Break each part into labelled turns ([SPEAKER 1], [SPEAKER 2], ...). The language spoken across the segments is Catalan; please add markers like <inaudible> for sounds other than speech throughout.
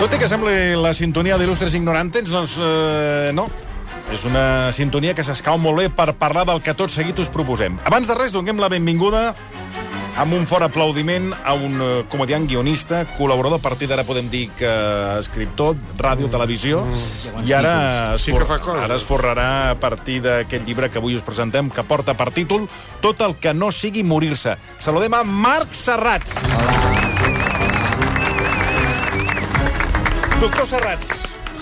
[SPEAKER 1] Tot i que sembli la sintonia d'il·lustres ignorantes, doncs eh, no. És una sintonia que s'escau molt bé per parlar del que tot seguit us proposem. Abans de res, donem la benvinguda amb un fort aplaudiment a un eh, comediant guionista, col·laborador, a partir d'ara podem dir que escriptor, ràdio, televisió, i ara es,
[SPEAKER 2] Mm. Sí que fa
[SPEAKER 1] for-
[SPEAKER 2] coses.
[SPEAKER 1] ara es forrarà a partir d'aquest llibre que avui us presentem, que porta per títol Tot el que no sigui morir-se. Saludem a Marc Serrats.
[SPEAKER 2] Ah.
[SPEAKER 1] Doctor Serrats,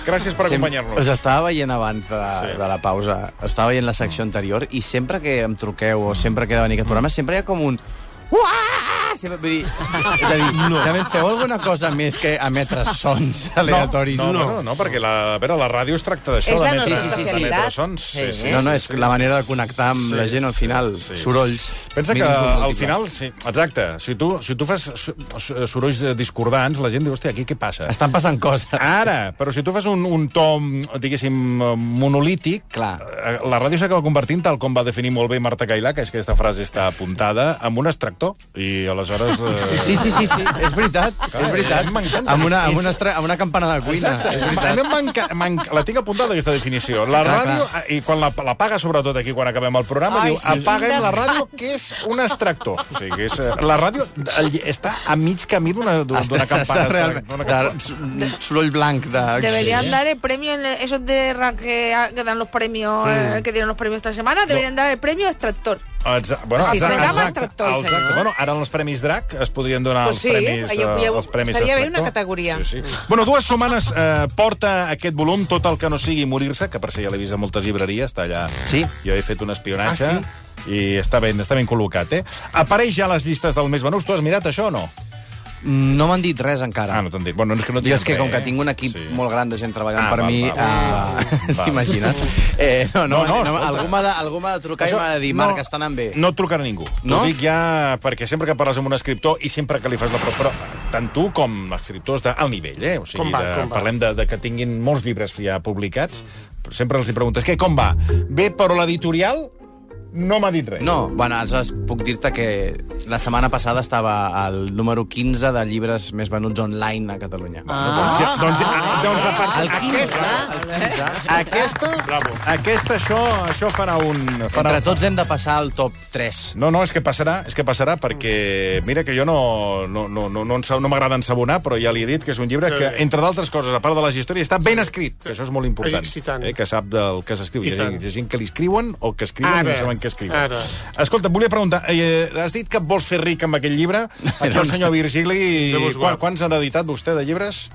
[SPEAKER 1] gràcies per acompanyar-nos.
[SPEAKER 3] Us estava veient abans de, sí.
[SPEAKER 1] Sí.
[SPEAKER 3] de la pausa. Estava veient la secció anterior i sempre que em truqueu o sempre que he de venir a aquest programa, sempre hi ha com un... Uah! Sempre, vull dir, és a dir, no. també feu alguna cosa més que emetre sons aleatoris.
[SPEAKER 1] No, no, no, no perquè la, a veure, la ràdio es tracta d'això,
[SPEAKER 4] És la
[SPEAKER 1] d'emetre
[SPEAKER 4] nostra
[SPEAKER 1] sí, sí, sí,
[SPEAKER 4] especialitat.
[SPEAKER 1] d'emetre sons. Sí,
[SPEAKER 4] Sí,
[SPEAKER 1] sí.
[SPEAKER 3] no, no, és la manera de connectar amb sí. la gent al final.
[SPEAKER 1] Sí.
[SPEAKER 3] Sí. Sorolls.
[SPEAKER 1] Pensa que
[SPEAKER 3] mínim
[SPEAKER 1] al
[SPEAKER 3] convolutibles.
[SPEAKER 1] final, sí, exacte, si tu, si tu fas so- so- sorolls eh, discordants, la gent diu, hòstia, aquí què passa?
[SPEAKER 3] Estan passant coses.
[SPEAKER 1] Ara, però si tu fas un, un to, mm, diguéssim, eh, monolític,
[SPEAKER 3] Clar.
[SPEAKER 1] eh, la ràdio s'acaba convertint, tal com va definir molt bé Marta Cailà, que és que aquesta frase està apuntada, amb un extractor. I aleshores... Eh...
[SPEAKER 3] Sí, sí, sí, sí, és veritat,
[SPEAKER 1] Clar,
[SPEAKER 3] és veritat.
[SPEAKER 1] eh, m'encanta.
[SPEAKER 3] Amb una, amb,
[SPEAKER 1] És-
[SPEAKER 3] una, estra- amb una campana de cuina,
[SPEAKER 1] Exacte.
[SPEAKER 3] és veritat.
[SPEAKER 1] A mi m'enca- m'enca- La tinc apuntada, aquesta definició. La
[SPEAKER 3] Clar,
[SPEAKER 1] ràdio, eh, i quan la, la paga, sobretot aquí, quan acabem el programa,
[SPEAKER 4] Ai,
[SPEAKER 1] diu,
[SPEAKER 4] sí.
[SPEAKER 1] apaguen
[SPEAKER 4] Quin
[SPEAKER 1] la ràdio, que és un extractor. O sigui, que és, eh, la ràdio el, lle- està a mig camí d'una d'una
[SPEAKER 3] Està- està
[SPEAKER 1] campana.
[SPEAKER 3] realment-
[SPEAKER 1] d'una
[SPEAKER 3] de-
[SPEAKER 1] campana.
[SPEAKER 3] de- soroll blanc de...
[SPEAKER 5] Deberían dar el premio, en el- esos de ra- que, ah, que dan los premios, eh, que dieron los premios esta semana, deberían dar el premio extractor.
[SPEAKER 1] Exa- bueno,
[SPEAKER 5] Sí,
[SPEAKER 1] exacte,
[SPEAKER 5] se llama
[SPEAKER 1] exacte,
[SPEAKER 5] extractor, el
[SPEAKER 1] exacte.
[SPEAKER 5] senyor.
[SPEAKER 1] Bueno, ara en els Premis DRAC es podrien donar
[SPEAKER 4] Pues
[SPEAKER 1] els
[SPEAKER 4] sí,
[SPEAKER 1] premis,
[SPEAKER 4] hi hauria-
[SPEAKER 1] eh, els premis
[SPEAKER 4] estaria bé
[SPEAKER 1] extractor.
[SPEAKER 4] una categoria.
[SPEAKER 1] Sí, sí. Bueno, dues setmanes eh, porta aquest volum, tot el que no sigui morir-se, que per ser ja l'he vist a moltes llibreries, està allà.
[SPEAKER 3] Sí.
[SPEAKER 1] Jo he fet un espionatge
[SPEAKER 2] Ah,
[SPEAKER 1] i està ben, està ben col·locat, eh? Apareix ja a les llistes del més venus. Tu has mirat això o no?
[SPEAKER 3] No m'han dit res encara.
[SPEAKER 1] Ah, no t'han dit. Bueno, no és que no
[SPEAKER 3] Jo és
[SPEAKER 1] diguem
[SPEAKER 3] que com
[SPEAKER 1] res,
[SPEAKER 3] que
[SPEAKER 1] eh?
[SPEAKER 3] tinc un equip sí. molt gran de gent
[SPEAKER 1] Ah,
[SPEAKER 3] treballant per
[SPEAKER 1] val,
[SPEAKER 3] mi,
[SPEAKER 1] val, val.
[SPEAKER 3] eh,
[SPEAKER 1] Val.
[SPEAKER 3] <laughs> t'imagines? Eh, no,
[SPEAKER 1] No, no,
[SPEAKER 3] no, no, no,
[SPEAKER 1] escolta.
[SPEAKER 3] algú m'ha de, algú m'ha de trucar i m'ha de dir, Marc, està anant bé.
[SPEAKER 1] No et trucarà ningú. No?
[SPEAKER 3] No?
[SPEAKER 1] T'ho dic ja perquè sempre que parles amb un escriptor i sempre que li fas la prova... Però tant tu com escriptors d'alt nivell, eh? O sigui,
[SPEAKER 2] Com va,
[SPEAKER 1] de,
[SPEAKER 2] com va?
[SPEAKER 1] parlem de, de que tinguin molts llibres ja publicats, però sempre els hi preguntes, què, com va? Bé, però l'editorial no m'ha dit res.
[SPEAKER 3] No, bueno, aleshores puc dir-te que la setmana passada estava al número 15 de llibres més venuts online a Catalunya.
[SPEAKER 1] Ah, doncs, ja, doncs, ah, doncs a part,
[SPEAKER 3] El 15,
[SPEAKER 1] aquesta,
[SPEAKER 3] el 15.
[SPEAKER 1] aquesta, aquesta, això, això farà un... Farà,
[SPEAKER 3] Entre tots hem de passar al top 3.
[SPEAKER 1] No, no, és que passarà, és que passarà, perquè mira que jo no, no, no, no, no, ens- no m'agrada ensabonar, però ja li he dit que és un llibre
[SPEAKER 2] Sí.
[SPEAKER 1] sí. que, entre d'altres coses, a part de les històries, està ben escrit, que això és molt important.
[SPEAKER 2] És excitant.
[SPEAKER 1] Eh, que sap del que s'escriu.
[SPEAKER 2] I
[SPEAKER 1] Hi, ha gent-
[SPEAKER 2] tant.
[SPEAKER 1] hi ha gent que li escriuen o que escriuen
[SPEAKER 2] Ara.
[SPEAKER 1] i no saben què escriuen.
[SPEAKER 2] Ara.
[SPEAKER 1] Escolta, et volia preguntar, eh, has dit que et vols fer ric amb aquest llibre? Aquí el senyor Virgili,
[SPEAKER 2] Déu us
[SPEAKER 1] quan,
[SPEAKER 2] guard.
[SPEAKER 1] quants han editat vostè de llibres?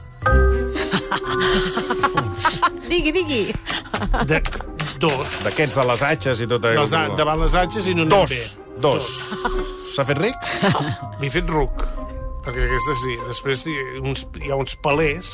[SPEAKER 4] Digui, digui.
[SPEAKER 2] De... Dos.
[SPEAKER 1] D'aquests, de les atxes i tot
[SPEAKER 2] Les, a- davant les atxes i no anem
[SPEAKER 1] Dos,
[SPEAKER 2] bé.
[SPEAKER 1] dos. S'ha fet ric?
[SPEAKER 2] M'he fet ruc. Perquè aquesta sí. Després hi ha uns, hi ha uns palers.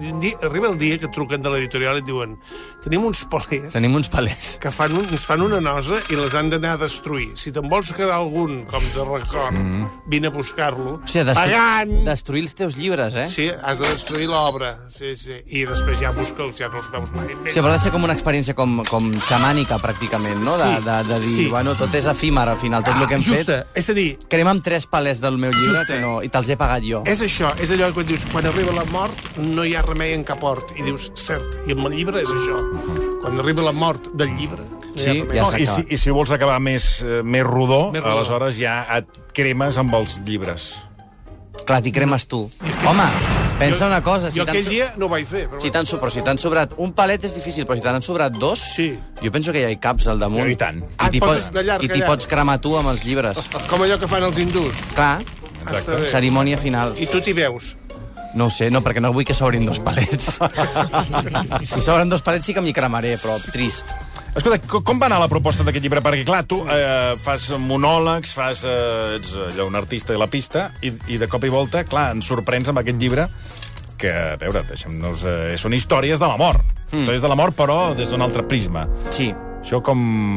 [SPEAKER 2] I un dia, arriba el dia que et truquen de l'editorial i et diuen tenim uns palers
[SPEAKER 3] Tenim uns palers.
[SPEAKER 2] que fan un, ens fan una nosa i les han d'anar a destruir. Si te'n vols quedar algun com de record, mm -hmm. vine a buscar-lo.
[SPEAKER 3] O sigui,
[SPEAKER 2] pagant...
[SPEAKER 3] destruir, destruir els teus llibres, eh?
[SPEAKER 2] Sí, has de destruir l'obra. Sí, sí. I després ja busca'ls, ja no els veus mai més.
[SPEAKER 3] Sí, però ha de ser com una experiència com, com xamànica, pràcticament, no? De,
[SPEAKER 2] Sí,
[SPEAKER 3] de, de dir,
[SPEAKER 2] sí. Ah,
[SPEAKER 3] bueno, tot és efímer, al final, tot el que hem
[SPEAKER 2] Justa,
[SPEAKER 3] fet.
[SPEAKER 2] és a dir,
[SPEAKER 3] Crema'm tres palers del meu llibre
[SPEAKER 2] Justa.
[SPEAKER 3] que no, i te'ls he pagat jo.
[SPEAKER 2] És això, és allò que dius, quan arriba la mort no hi ha remei en cap hort. I dius, cert, i amb el llibre és això. Quan arriba la mort del llibre, no hi ha
[SPEAKER 3] Sí,
[SPEAKER 2] remei.
[SPEAKER 3] ja
[SPEAKER 1] No,
[SPEAKER 3] s'ha
[SPEAKER 1] i, si,
[SPEAKER 3] acabat.
[SPEAKER 1] I si vols acabar més, eh, més, rodó, més
[SPEAKER 2] Més
[SPEAKER 1] rodó,
[SPEAKER 2] rodó.
[SPEAKER 1] aleshores ja et cremes amb els llibres.
[SPEAKER 3] Clar, t'hi cremes tu. Home, pensa
[SPEAKER 2] Jo-
[SPEAKER 3] una cosa. Si
[SPEAKER 2] Jo
[SPEAKER 3] t'han
[SPEAKER 2] aquell
[SPEAKER 3] so-
[SPEAKER 2] dia no ho vaig fer. Però
[SPEAKER 3] Si t'han so- però si t'han sobrat un palet és difícil, però si t'han sobrat dos,
[SPEAKER 2] Sí.
[SPEAKER 3] jo penso que ja hi caps al damunt.
[SPEAKER 1] I tant.
[SPEAKER 2] Ah,
[SPEAKER 3] I t'hi
[SPEAKER 2] et poses
[SPEAKER 3] pots,
[SPEAKER 2] de llarg,
[SPEAKER 3] i t'hi
[SPEAKER 2] allà.
[SPEAKER 3] pots cremar tu amb els llibres.
[SPEAKER 2] Com allò que fan els hindús.
[SPEAKER 3] Clar,
[SPEAKER 2] Està bé.
[SPEAKER 3] cerimònia final.
[SPEAKER 2] I tu t'hi veus.
[SPEAKER 3] No ho sé, no, perquè no vull que s'obrin dos
[SPEAKER 2] <laughs>
[SPEAKER 3] palets. si s'obren dos palets sí que m'hi cremaré, però trist.
[SPEAKER 1] Escolta, co- com va anar la proposta d'aquest llibre? Perquè, clar, tu eh, fas monòlegs, fas, eh, ets allò, un artista de la pista, i, i de cop i volta, clar, ens sorprens amb aquest llibre que, a
[SPEAKER 3] Hmm.
[SPEAKER 1] veure, deixem-nos... Eh, són històries de la mort. Mm. Històries de la mort, però des d'un altre prisma.
[SPEAKER 3] Sí.
[SPEAKER 1] Això com...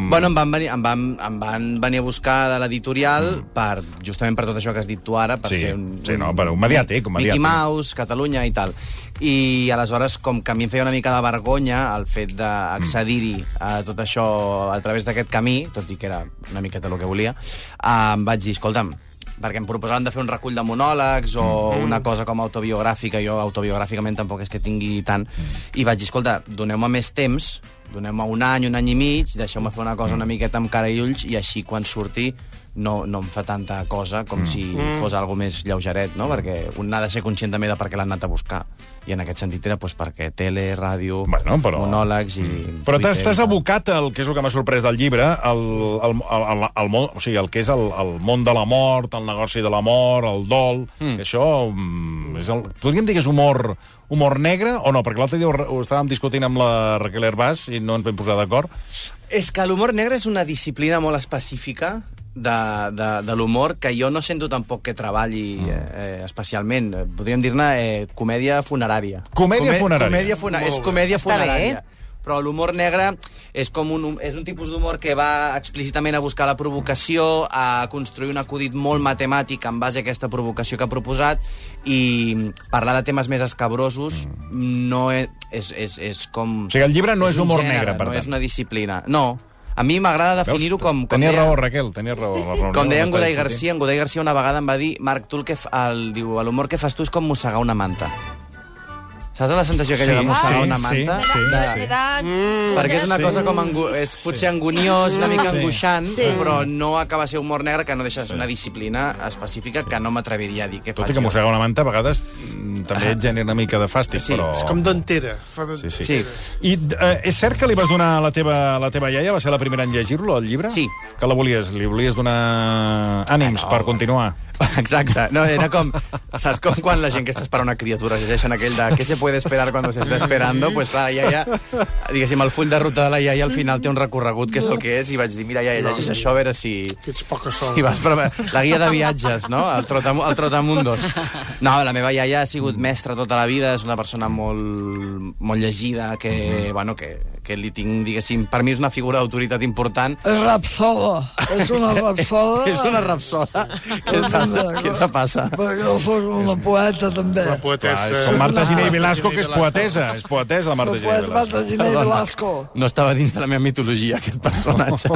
[SPEAKER 3] Bueno, em van, venir, em, van, em van venir a buscar de l'editorial per, justament per tot això que has dit tu ara, per
[SPEAKER 1] Sí,
[SPEAKER 3] ser un...
[SPEAKER 1] sí, no, per un eh, mediàtic, un mediàtic.
[SPEAKER 3] Mickey Mouse, Catalunya i tal. I aleshores, com que a mi em feia una mica de vergonya el fet d'accedir-hi a tot això a través d'aquest camí, tot i que era una miqueta el que volia, eh, em vaig dir, escolta'm, perquè em proposaven de fer un recull de monòlegs o
[SPEAKER 1] Mm-hmm.
[SPEAKER 3] una cosa com autobiogràfica, jo autobiogràficament tampoc és que tingui tant, i vaig dir, escolta, doneu-me més temps, doneu-me un any, un any i mig, deixeu-me fer una cosa una miqueta amb cara i ulls, i així quan surti no, no em fa tanta cosa com
[SPEAKER 1] Mm.
[SPEAKER 3] si fos algo més lleugeret, no? Perquè un ha de ser conscient també de per què l'han anat a buscar. I en aquest sentit era doncs, perquè tele, ràdio,
[SPEAKER 1] Bueno, però- Mm.
[SPEAKER 3] monòlegs i...
[SPEAKER 1] Però t'has
[SPEAKER 3] Twitter i
[SPEAKER 1] t'has
[SPEAKER 3] tal.
[SPEAKER 1] abocat al que és el que m'ha sorprès del llibre, al, al, al, al, al món, o sigui, el que és el, el món de la mort, el negoci de la mort, el dol, mm. que això mm, és el, podríem dir que és humor humor negre o no, perquè l'altre dia ho, re- ho estàvem discutint amb la Raquel Herbàs i no ens vam posar d'acord.
[SPEAKER 3] És que l'humor negre és una disciplina molt específica de, de, de l'humor que jo no sento tampoc que treballi eh, eh, especialment. Eh, Podríem dir-ne eh, comèdia funerària.
[SPEAKER 1] Comèdia funerària.
[SPEAKER 3] Comèdia funa
[SPEAKER 2] Molt
[SPEAKER 3] és
[SPEAKER 2] bé.
[SPEAKER 3] comèdia
[SPEAKER 4] Està bé.
[SPEAKER 3] funerària. Però l'humor negre és, com un, hum- és un tipus d'humor que va explícitament a buscar la provocació, a construir un acudit molt matemàtic en base a aquesta provocació que ha proposat i parlar de temes més escabrosos no és, és, és, és com...
[SPEAKER 1] Mm. O sigui, el llibre no és
[SPEAKER 3] un
[SPEAKER 1] humor
[SPEAKER 3] gènere,
[SPEAKER 1] negre, per
[SPEAKER 3] no
[SPEAKER 1] tant.
[SPEAKER 3] és una disciplina. No, a mi m'agrada definir-ho com... com
[SPEAKER 1] Tenies
[SPEAKER 3] deia-
[SPEAKER 1] raó, Raquel, tenies raó. La reunió
[SPEAKER 3] Com deia en
[SPEAKER 1] on està
[SPEAKER 3] Godai
[SPEAKER 1] discutint.
[SPEAKER 3] Garcia, en Godai Garcia una vegada em va dir Marc, tu el que f- el, diu, l'humor que fas tu és com mossegar una manta. Saps la sensació aquella
[SPEAKER 1] Sí,
[SPEAKER 3] de mossegar
[SPEAKER 1] sí,
[SPEAKER 3] una
[SPEAKER 1] sí,
[SPEAKER 3] manta?
[SPEAKER 1] sí,
[SPEAKER 3] de...
[SPEAKER 1] sí.
[SPEAKER 5] Me da...
[SPEAKER 3] Perquè és una
[SPEAKER 1] Sí.
[SPEAKER 3] cosa com... Angu... És potser angoniós, una mica
[SPEAKER 1] Sí.
[SPEAKER 3] angoixant,
[SPEAKER 4] Sí.
[SPEAKER 3] però no acaba de ser humor negre, que no deixa de ser una disciplina específica que no m'atreviria a dir que
[SPEAKER 1] Tot
[SPEAKER 3] faig
[SPEAKER 1] i que
[SPEAKER 3] jo.
[SPEAKER 1] mossegar una manta a vegades mm, també et genera una mica de fàstic,
[SPEAKER 3] Ah. Sí,
[SPEAKER 1] però...
[SPEAKER 2] És com d'entera. Fa de...
[SPEAKER 1] Oh. Sí, sí.
[SPEAKER 3] Sí.
[SPEAKER 1] I eh, és cert que li vas donar a la teva, a la teva iaia? Va ser la primera en llegir-lo, el llibre?
[SPEAKER 3] Sí.
[SPEAKER 1] Que la volies, li volies donar ànims
[SPEAKER 3] Ah,
[SPEAKER 1] per
[SPEAKER 3] no, bueno.
[SPEAKER 1] continuar.
[SPEAKER 3] Exacte. No, era com... Saps com quan la gent que està esperant una criatura llegeixen aquell de què se puede esperar quan se está esperando? Pues clar, la iaia... Diguéssim, el full de ruta de la iaia al final té un recorregut que és el que és i vaig dir, mira, iaia, llegeix això a veure si...
[SPEAKER 2] Que ets poca sol.
[SPEAKER 3] I vas provar la guia de viatges, no? El, trotam el Trotamundos. No, la meva iaia ha sigut mestra tota la vida, és una persona molt, molt llegida, que, bueno, que, que li tinc, diguéssim, per mi és una figura d'autoritat important.
[SPEAKER 6] És rapsoda. És una rapsoda.
[SPEAKER 3] <laughs> És una rapsoda. Què et passa? Què te passa?
[SPEAKER 6] Perquè jo sóc una poeta, també.
[SPEAKER 2] La
[SPEAKER 1] Clar,
[SPEAKER 2] poetessa...
[SPEAKER 1] és com Marta
[SPEAKER 6] Soc
[SPEAKER 1] Giné i
[SPEAKER 6] una-
[SPEAKER 1] Velasco, que és poetesa. És poetesa, la Marta
[SPEAKER 6] Soc
[SPEAKER 1] Giné i
[SPEAKER 6] poeta Marta
[SPEAKER 1] Velasco.
[SPEAKER 6] Giné i
[SPEAKER 3] Perdona.
[SPEAKER 6] Velasco.
[SPEAKER 3] No estava dins de la meva mitologia, aquest personatge.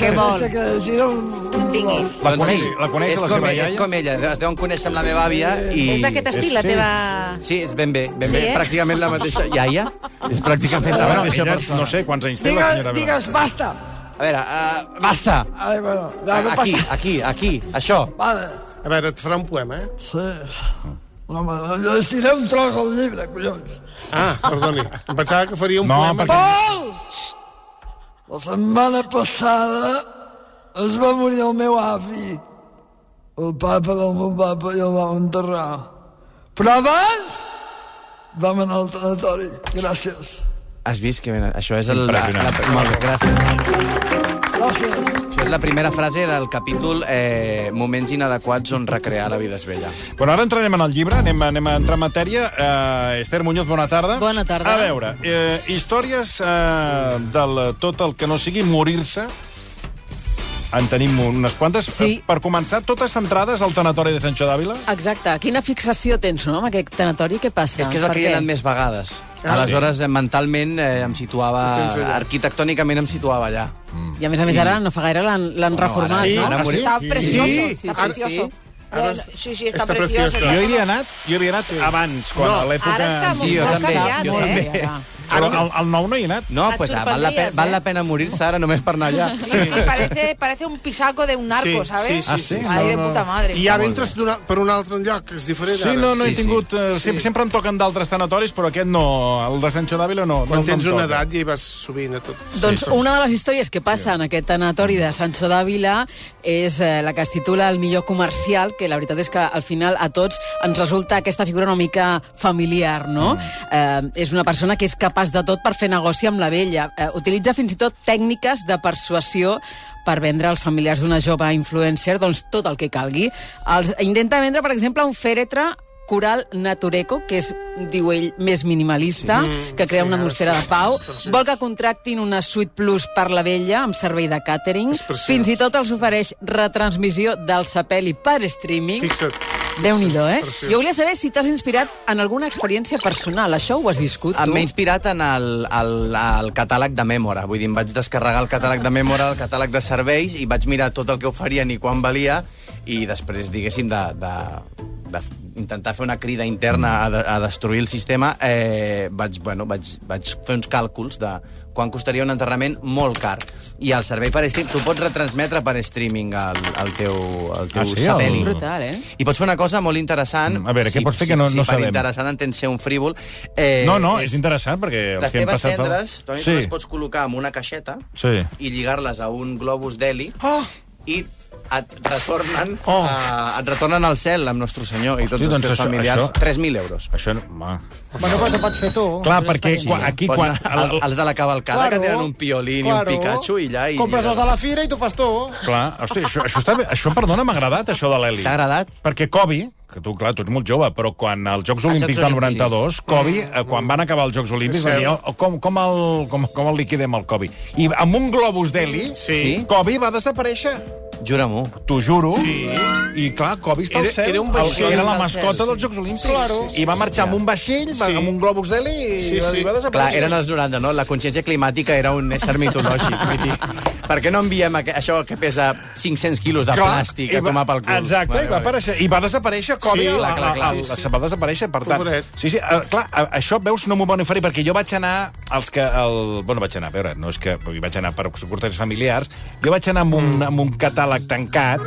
[SPEAKER 6] Que
[SPEAKER 4] vol?
[SPEAKER 6] Que gira un... un
[SPEAKER 4] Tingui.
[SPEAKER 6] gos.
[SPEAKER 1] <laughs> La
[SPEAKER 3] Doncs
[SPEAKER 1] coneix,
[SPEAKER 3] sí,
[SPEAKER 1] la coneix
[SPEAKER 3] és
[SPEAKER 1] la
[SPEAKER 3] com,
[SPEAKER 1] seva
[SPEAKER 3] És
[SPEAKER 1] iaia?
[SPEAKER 3] com ella, es deuen conèixer amb la meva àvia i...
[SPEAKER 4] És d'aquest
[SPEAKER 1] és-
[SPEAKER 4] estil, la
[SPEAKER 1] sí.
[SPEAKER 4] teva...
[SPEAKER 3] Sí, és ben bé, ben
[SPEAKER 4] Sí,
[SPEAKER 3] bé.
[SPEAKER 4] eh?
[SPEAKER 3] Pràcticament la mateixa... Iaia? És pràcticament la
[SPEAKER 1] Bueno,
[SPEAKER 3] mateixa
[SPEAKER 1] ella,
[SPEAKER 3] persona.
[SPEAKER 1] no sé quants anys té la
[SPEAKER 6] Digues,
[SPEAKER 1] senyora
[SPEAKER 6] digues,
[SPEAKER 1] Velasco.
[SPEAKER 6] basta.
[SPEAKER 3] A veure, uh, basta!
[SPEAKER 6] Ai, bueno, ja no
[SPEAKER 3] Aquí,
[SPEAKER 6] passa.
[SPEAKER 3] aquí, aquí, això.
[SPEAKER 6] Vale,
[SPEAKER 2] A veure, et farà un poema, eh?
[SPEAKER 6] sí. Home, llegiré un tros al llibre, collons.
[SPEAKER 2] Ah, perdoni. Em pensava que faria un
[SPEAKER 1] No,
[SPEAKER 2] poema.
[SPEAKER 1] perquè-
[SPEAKER 6] Pol! La setmana passada es va morir el meu avi. El papa del meu papa i el va enterrar. Però abans vam anar al tanatori. Gràcies.
[SPEAKER 3] Has vist que ben... això és el...
[SPEAKER 1] Impressionant.
[SPEAKER 3] molt bé, gràcies.
[SPEAKER 6] Gràcies.
[SPEAKER 3] Això és la primera frase del capítol eh, Moments inadequats on recrear la vida és vella.
[SPEAKER 1] Bueno, ara entrarem en el llibre, anem, anem a entrar en matèria. Uh, Esther Muñoz, bona tarda.
[SPEAKER 4] Bona tarda.
[SPEAKER 1] A veure, eh, històries eh, del tot el que no sigui morir-se, en tenim unes quantes. Eh,
[SPEAKER 7] Sí.
[SPEAKER 1] Per començar, totes centrades al tanatori de Sancho d'Àvila?
[SPEAKER 7] Exacte. Quina fixació tens, no?, amb aquest tanatori? Què passa?
[SPEAKER 3] És que és el
[SPEAKER 7] Doncs Per
[SPEAKER 3] que hi he
[SPEAKER 7] què?
[SPEAKER 3] anat més vegades.
[SPEAKER 1] Ah,
[SPEAKER 3] Aleshores, eh, mentalment, eh, em situava...
[SPEAKER 2] Ho tens allà.
[SPEAKER 3] Arquitectònicament em situava allà.
[SPEAKER 7] I a més a més ara no fa gaire l'han l'han reformat,
[SPEAKER 3] Mm.
[SPEAKER 1] Ah,
[SPEAKER 3] ara sí, ara
[SPEAKER 7] no?
[SPEAKER 1] sí?
[SPEAKER 5] Está precioso,
[SPEAKER 2] Sí,
[SPEAKER 5] está
[SPEAKER 2] ahora-
[SPEAKER 5] precioso.
[SPEAKER 2] ahora
[SPEAKER 5] Yo-
[SPEAKER 2] está-
[SPEAKER 5] sí, sí, está,
[SPEAKER 2] está
[SPEAKER 5] precioso.
[SPEAKER 2] precioso.
[SPEAKER 1] Jo hi havia anat, jo hi havia anat sí. abans, quan
[SPEAKER 2] No,
[SPEAKER 1] a l'època...
[SPEAKER 4] ara està molt-
[SPEAKER 1] Sí,
[SPEAKER 4] jo
[SPEAKER 7] també,
[SPEAKER 4] canviat,
[SPEAKER 7] jo
[SPEAKER 4] eh?
[SPEAKER 7] també.
[SPEAKER 1] Però al, al nou no hi he anat.
[SPEAKER 3] No,
[SPEAKER 4] Et
[SPEAKER 3] pues, ah, val, la pena,
[SPEAKER 4] sorprendries, eh?
[SPEAKER 3] val la pena morir-se ara només per anar allà.
[SPEAKER 4] <laughs>
[SPEAKER 5] Sí, sí, parece, parece un pisaco de un narco,
[SPEAKER 2] Sí,
[SPEAKER 5] ¿sabes?
[SPEAKER 2] sí,
[SPEAKER 1] sí, sí, sí.
[SPEAKER 5] Ahí de
[SPEAKER 1] No, no.
[SPEAKER 5] puta madre.
[SPEAKER 2] I ara entres d'una- per un altre lloc, és diferent.
[SPEAKER 1] Sí,
[SPEAKER 2] ara.
[SPEAKER 1] no, no he
[SPEAKER 3] Sí, sí.
[SPEAKER 1] tingut... Sí. Sempre, sempre em toquen d'altres tanatoris, però aquest no, el de Sancho d'Àvila no.
[SPEAKER 2] Quan
[SPEAKER 1] no,
[SPEAKER 2] tens
[SPEAKER 1] no em
[SPEAKER 2] una
[SPEAKER 1] toca.
[SPEAKER 2] edat ja hi vas sovint a tot.
[SPEAKER 7] Doncs una de les històries que passa en aquest tanatori de Sancho d'Àvila és eh, la que es titula El millor comercial, que la veritat és que al final a tots ens resulta aquesta figura una mica familiar,
[SPEAKER 2] Mm.
[SPEAKER 7] no? Eh, és una persona que és capaç de tot per fer negoci amb la vella. Eh, utilitza fins i tot tècniques de persuasió per vendre als familiars d'una jove influencer doncs, tot el que calgui. Els intenta vendre, per exemple, un fèretre Coral Natureco, que és, diu ell, més minimalista,
[SPEAKER 2] Sí.
[SPEAKER 7] que crea
[SPEAKER 2] Sí,
[SPEAKER 7] una
[SPEAKER 2] ara
[SPEAKER 7] atmosfera
[SPEAKER 2] sí.
[SPEAKER 7] de pau.
[SPEAKER 2] És preciós.
[SPEAKER 7] Vol que contractin una suite plus per la vella, amb servei de càtering.
[SPEAKER 2] És preciós.
[SPEAKER 7] Fins i tot els ofereix retransmissió del Sapeli per streaming.
[SPEAKER 2] Fixa't.
[SPEAKER 7] Déu-n'hi-do, eh?
[SPEAKER 2] Preciós.
[SPEAKER 7] Jo volia saber si t'has inspirat en alguna experiència personal. Això ho has viscut, tu?
[SPEAKER 3] M'he inspirat en el, el, el catàleg de Mèmora. Vull dir, em vaig descarregar el catàleg de Mèmora, el catàleg de serveis, i vaig mirar tot el que oferien i quan valia, i després, diguéssim, de, de, de f- intentar fer una crida interna a, de, a destruir el sistema, eh, vaig, bueno, vaig, vaig fer uns càlculs de quan costaria un enterrament molt car. I el servei per streaming, tu pots retransmetre per streaming el, el teu, el teu
[SPEAKER 1] Ah, sí?
[SPEAKER 3] satèl·lit.
[SPEAKER 1] El-
[SPEAKER 7] Brutal, eh?
[SPEAKER 3] I pots fer una cosa molt interessant.
[SPEAKER 1] Mm, a veure, què pots fer que no-
[SPEAKER 3] si,
[SPEAKER 1] no
[SPEAKER 3] si
[SPEAKER 1] sabem?
[SPEAKER 3] per interessant entens ser un frívol... Eh,
[SPEAKER 1] No, no, és interessant, perquè els
[SPEAKER 3] Les
[SPEAKER 1] que hem
[SPEAKER 3] teves
[SPEAKER 1] passat... el-
[SPEAKER 3] cendres, tu a mi
[SPEAKER 1] Sí.
[SPEAKER 3] sí. les pots col·locar en una caixeta
[SPEAKER 1] Sí.
[SPEAKER 3] i lligar-les a un globus d'heli oh!
[SPEAKER 8] Ah,
[SPEAKER 3] i et retornen,
[SPEAKER 1] Oh.
[SPEAKER 3] oh. a, et retornen al cel amb Nostre Senyor i tots
[SPEAKER 1] Hosti,
[SPEAKER 3] els
[SPEAKER 1] doncs
[SPEAKER 3] teus
[SPEAKER 1] això-
[SPEAKER 3] familiars.
[SPEAKER 1] això-
[SPEAKER 3] 3.000 euros.
[SPEAKER 1] Això, no- home...
[SPEAKER 8] Bueno, però ho pots fer tu.
[SPEAKER 1] Clar, perquè quan, aquí,
[SPEAKER 3] Pots
[SPEAKER 1] quan...
[SPEAKER 3] anar al- Els de la cavalcada,
[SPEAKER 8] Claro,
[SPEAKER 3] que tenen un piolín
[SPEAKER 8] claro.
[SPEAKER 3] i un Pikachu i allà... I
[SPEAKER 8] Compres els de la fira i t'ho fas tu.
[SPEAKER 1] Clar, hosti, això, això, està bé. això perdona, m'ha agradat, això de l'heli.
[SPEAKER 3] T'ha agradat?
[SPEAKER 1] Perquè Kobe, que tu, clar, tu ets molt jove, però quan als Jocs Olímpics del
[SPEAKER 3] Olímpics. Mm.
[SPEAKER 1] 92, Kobe, eh, quan van acabar els Jocs Olímpics, van dir, oh, com, com, el, com, com el liquidem el Kobe? I amb un globus d'heli,
[SPEAKER 2] Sí.
[SPEAKER 1] Kobe va desaparèixer.
[SPEAKER 3] Jura-m'ho.
[SPEAKER 1] T'ho juro.
[SPEAKER 2] Sí.
[SPEAKER 1] I clar, Kobe està
[SPEAKER 2] Era-
[SPEAKER 1] al cel.
[SPEAKER 2] era un vaixell.
[SPEAKER 1] El- era la
[SPEAKER 3] Està al cel,
[SPEAKER 1] mascota
[SPEAKER 3] sí.
[SPEAKER 1] dels Jocs Olímpics. I va marxar amb un vaixell, va,
[SPEAKER 2] Sí.
[SPEAKER 1] amb un globus d'heli, i
[SPEAKER 2] Sí,
[SPEAKER 1] va,
[SPEAKER 2] sí.
[SPEAKER 1] i va
[SPEAKER 3] Clar,
[SPEAKER 1] desaparèixer.
[SPEAKER 3] eren els 90, no? La consciència climàtica era un <laughs> ésser mitològic. Vull dir, per què no enviem aqu- això que pesa 500 quilos de
[SPEAKER 1] Clar,
[SPEAKER 3] plàstic
[SPEAKER 1] i
[SPEAKER 3] a
[SPEAKER 1] va-
[SPEAKER 3] tomar pel cul?
[SPEAKER 1] Exacte, i, va aparèixer, i va desaparèixer Kobe.
[SPEAKER 2] Sí,
[SPEAKER 1] a la-
[SPEAKER 2] clar, clar, clar.
[SPEAKER 1] a- a-
[SPEAKER 2] Sí, sí.
[SPEAKER 1] Va desaparèixer, per tant...
[SPEAKER 2] Pobret.
[SPEAKER 1] Sí, sí, eh, clar, a- això, veus, no m'ho van oferir, perquè jo vaig anar als que... El, bueno, vaig anar, a veure, no és que... vull dir, Vaig anar per corteses familiars, jo vaig anar amb un, amb un catàleg tancat,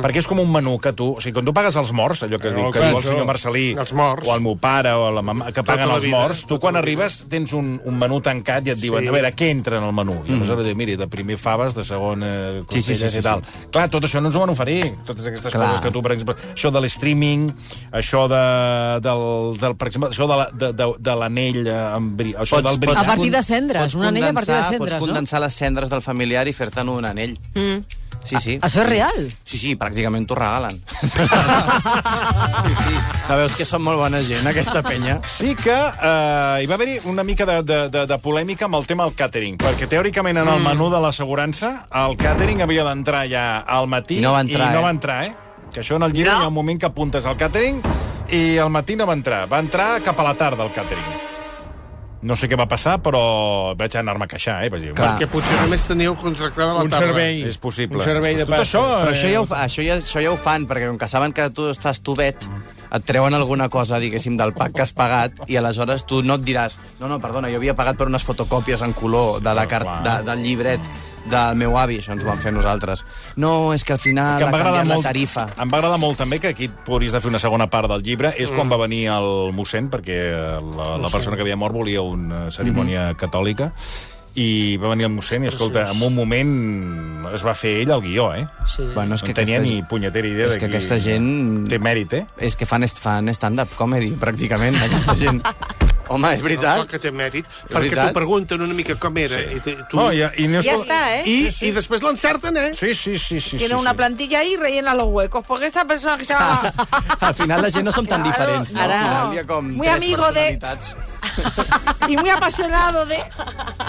[SPEAKER 1] perquè és com un menú que tu... O sigui, quan tu pagues els morts, allò que es diu, que
[SPEAKER 2] clar,
[SPEAKER 1] diu el
[SPEAKER 2] això.
[SPEAKER 1] senyor Marcelí,
[SPEAKER 2] Els morts.
[SPEAKER 1] o el meu pare, o la mamà, que paguen
[SPEAKER 2] la
[SPEAKER 1] els
[SPEAKER 2] vida,
[SPEAKER 1] morts, tu
[SPEAKER 2] tota
[SPEAKER 1] quan
[SPEAKER 2] la vida.
[SPEAKER 1] arribes tens un, un menú tancat i et diuen,
[SPEAKER 2] Sí.
[SPEAKER 1] a veure, què entra en el menú? I aleshores diu, miri, de primer faves, de segon eh,
[SPEAKER 3] Sí, sí, sí,
[SPEAKER 1] costelles
[SPEAKER 3] sí,
[SPEAKER 1] i tal. Clar, tot això no ens ho van oferir. Totes aquestes Clar.
[SPEAKER 3] Clar.
[SPEAKER 1] coses que tu, per exemple... Això de l'streaming, això de, del, del, per exemple, això de la- de- de- de l'anell eh, amb bri- això
[SPEAKER 3] Pots-
[SPEAKER 1] del
[SPEAKER 3] pots-
[SPEAKER 7] A
[SPEAKER 1] brillant.
[SPEAKER 7] partir de cendres,
[SPEAKER 3] Pots
[SPEAKER 7] una anella a partir de
[SPEAKER 3] condensar-
[SPEAKER 7] cendres,
[SPEAKER 3] Pots
[SPEAKER 7] no?
[SPEAKER 3] condensar les cendres del familiar i fer-te'n un anell. Mm. Sí, sí.
[SPEAKER 7] Això és real?
[SPEAKER 3] Sí, sí, pràcticament t'ho regalen.
[SPEAKER 7] <laughs>
[SPEAKER 3] sí, sí. No veus que són molt bona gent, aquesta penya?
[SPEAKER 1] Sí que eh, hi va haver-hi una mica de, de, de, de polèmica amb el tema del càtering, perquè teòricament en el menú de l'assegurança el càtering havia d'entrar ja al matí
[SPEAKER 3] I no va entrar,
[SPEAKER 1] i no
[SPEAKER 3] eh?
[SPEAKER 1] va entrar eh? Que això en el llibre no. hi ha un moment que apuntes al càtering i al matí no va entrar. Va entrar cap a la tarda el càtering. No sé què va passar, però vaig anar-me a queixar, eh? Vaig dir,
[SPEAKER 3] Clar.
[SPEAKER 2] Que potser només teníeu contractada la
[SPEAKER 9] Un
[SPEAKER 2] tarda.
[SPEAKER 9] servei.
[SPEAKER 1] És possible.
[SPEAKER 9] Un servei de
[SPEAKER 1] Tot
[SPEAKER 9] pasta.
[SPEAKER 1] això,
[SPEAKER 3] Però
[SPEAKER 1] eh,
[SPEAKER 3] això ja, ho, fa- això, ja, això ja ho fan, perquè com que saben que tu estàs tubet, et treuen alguna cosa, diguéssim, del pack que has pagat i aleshores tu no et diràs no, no, perdona, jo havia pagat per unes fotocòpies en color de
[SPEAKER 1] Ah,
[SPEAKER 3] la car de, del llibret del meu avi, això ens ho van fer nosaltres. No, és que al final
[SPEAKER 1] que em va
[SPEAKER 3] ha
[SPEAKER 1] agradar
[SPEAKER 3] canviat
[SPEAKER 1] molt,
[SPEAKER 3] la tarifa.
[SPEAKER 1] em va agradar molt també que aquí podries de fer una segona part del llibre, és quan va venir el mossèn, perquè la, la persona que havia mort volia una cerimònia catòlica, i va venir el mossèn i, escolta, en un moment es va fer ell el guió, eh?
[SPEAKER 2] Sí.
[SPEAKER 3] Bueno, és
[SPEAKER 1] No
[SPEAKER 3] que
[SPEAKER 1] en tenia
[SPEAKER 3] aquesta-
[SPEAKER 1] ni punyetera idea
[SPEAKER 3] és
[SPEAKER 1] de
[SPEAKER 3] que
[SPEAKER 1] qui-
[SPEAKER 3] aquesta gent-
[SPEAKER 1] Té mèrit, eh?
[SPEAKER 3] És que fan, est- fan stand-up comedy, pràcticament, aquesta gent. Home, és
[SPEAKER 2] Clar
[SPEAKER 3] veritat.
[SPEAKER 2] que té mèrit, perquè
[SPEAKER 3] veritat.
[SPEAKER 2] t'ho pregunten una mica com era. I te- tu...
[SPEAKER 1] No, i, i no és
[SPEAKER 5] Ya
[SPEAKER 1] pel-
[SPEAKER 5] está, ¿eh?
[SPEAKER 2] I, i després l'encerten, eh?
[SPEAKER 1] Sí, sí, sí. sí
[SPEAKER 5] Tiene
[SPEAKER 1] sí,
[SPEAKER 5] una
[SPEAKER 1] sí.
[SPEAKER 5] plantilla ahí y rellena los huecos. Porque esta persona que
[SPEAKER 1] <laughs>
[SPEAKER 5] se llama...
[SPEAKER 3] Al final la gent no som tan
[SPEAKER 5] Claro,
[SPEAKER 3] diferents, no?
[SPEAKER 5] ara-
[SPEAKER 3] Al final hi ha com
[SPEAKER 5] Muy
[SPEAKER 3] tres
[SPEAKER 5] amigo de-
[SPEAKER 3] personalitats.
[SPEAKER 5] y muy apasionado de...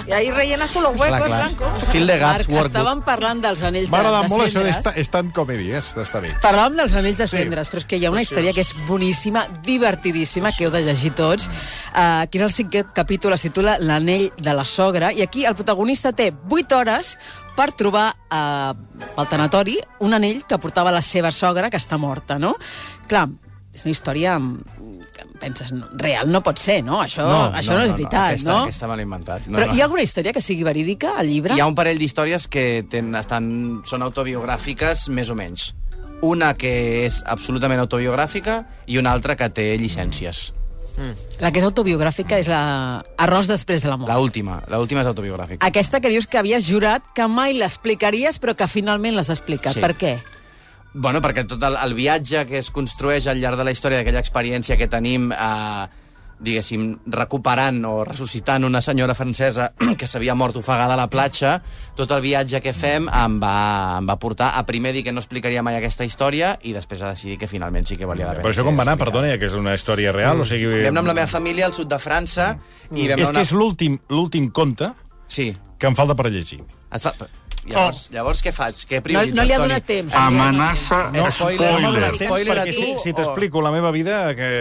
[SPEAKER 5] Y ahí rellenas con los huecos, Blanco.
[SPEAKER 3] Phil de Gaps,
[SPEAKER 7] Marc,
[SPEAKER 3] Workbook.
[SPEAKER 7] estàvem parlant dels anells de,
[SPEAKER 9] M'ha agradat
[SPEAKER 7] de
[SPEAKER 9] molt això
[SPEAKER 7] cendres.
[SPEAKER 9] d'estar estar en comèdia, és d'estar bé.
[SPEAKER 7] Parlàvem dels anells de cendres, sí. però és que hi ha una història que és boníssima, divertidíssima, que heu de llegir tots, uh, que és el cinquè capítol, es titula L'anell de la sogra, i aquí el protagonista té 8 hores per trobar uh, al tanatori un anell que portava la seva sogra, que està morta, no? Clar, és una història mm, que penses, no, real no pot ser, no? Això no, això no, és veritat,
[SPEAKER 3] aquesta,
[SPEAKER 7] no?
[SPEAKER 3] Aquesta me l'he inventat. No,
[SPEAKER 7] Però
[SPEAKER 3] no.
[SPEAKER 7] hi ha alguna història que sigui verídica al llibre?
[SPEAKER 3] Hi ha un parell d'històries que ten, estan, són autobiogràfiques, més o menys. Una que és absolutament autobiogràfica i una altra que té llicències.
[SPEAKER 7] La que és autobiogràfica és la Arròs després de la mort.
[SPEAKER 3] La última, la última és autobiogràfica.
[SPEAKER 7] Aquesta que dius que havies jurat que mai l'explicaries, però que finalment l'has explicat.
[SPEAKER 3] Sí.
[SPEAKER 7] Per què?
[SPEAKER 3] Bueno, perquè tot el, el viatge que es construeix al llarg de la història d'aquella experiència que tenim eh, diguéssim, recuperant o ressuscitant una senyora francesa <clears throat> que s'havia mort ofegada a la platja, tot el viatge que fem em va, em va portar a primer dir que no explicaria mai aquesta història i després a decidir que finalment sí que valia la pena.
[SPEAKER 1] Però això
[SPEAKER 3] ser
[SPEAKER 1] com va anar,
[SPEAKER 3] explicada.
[SPEAKER 1] perdona, ja que és una història real, o sigui...
[SPEAKER 3] Vam anar amb la meva família al sud de França i vam
[SPEAKER 1] Mm. És
[SPEAKER 3] anar...
[SPEAKER 1] que és l'últim l'últim conte
[SPEAKER 3] Sí.
[SPEAKER 1] que em falta per llegir.
[SPEAKER 3] Et fa... Llavors, llavors què faig? Què
[SPEAKER 7] No,
[SPEAKER 3] prioritzes,
[SPEAKER 7] no li ha
[SPEAKER 3] Toni?
[SPEAKER 7] donat temps.
[SPEAKER 10] Amenaça
[SPEAKER 3] No, Eh, spoiler.
[SPEAKER 10] spoiler.
[SPEAKER 3] Spoiler. a
[SPEAKER 1] Perquè
[SPEAKER 3] tu
[SPEAKER 1] si, si
[SPEAKER 3] o-
[SPEAKER 1] t'explico la meva vida, que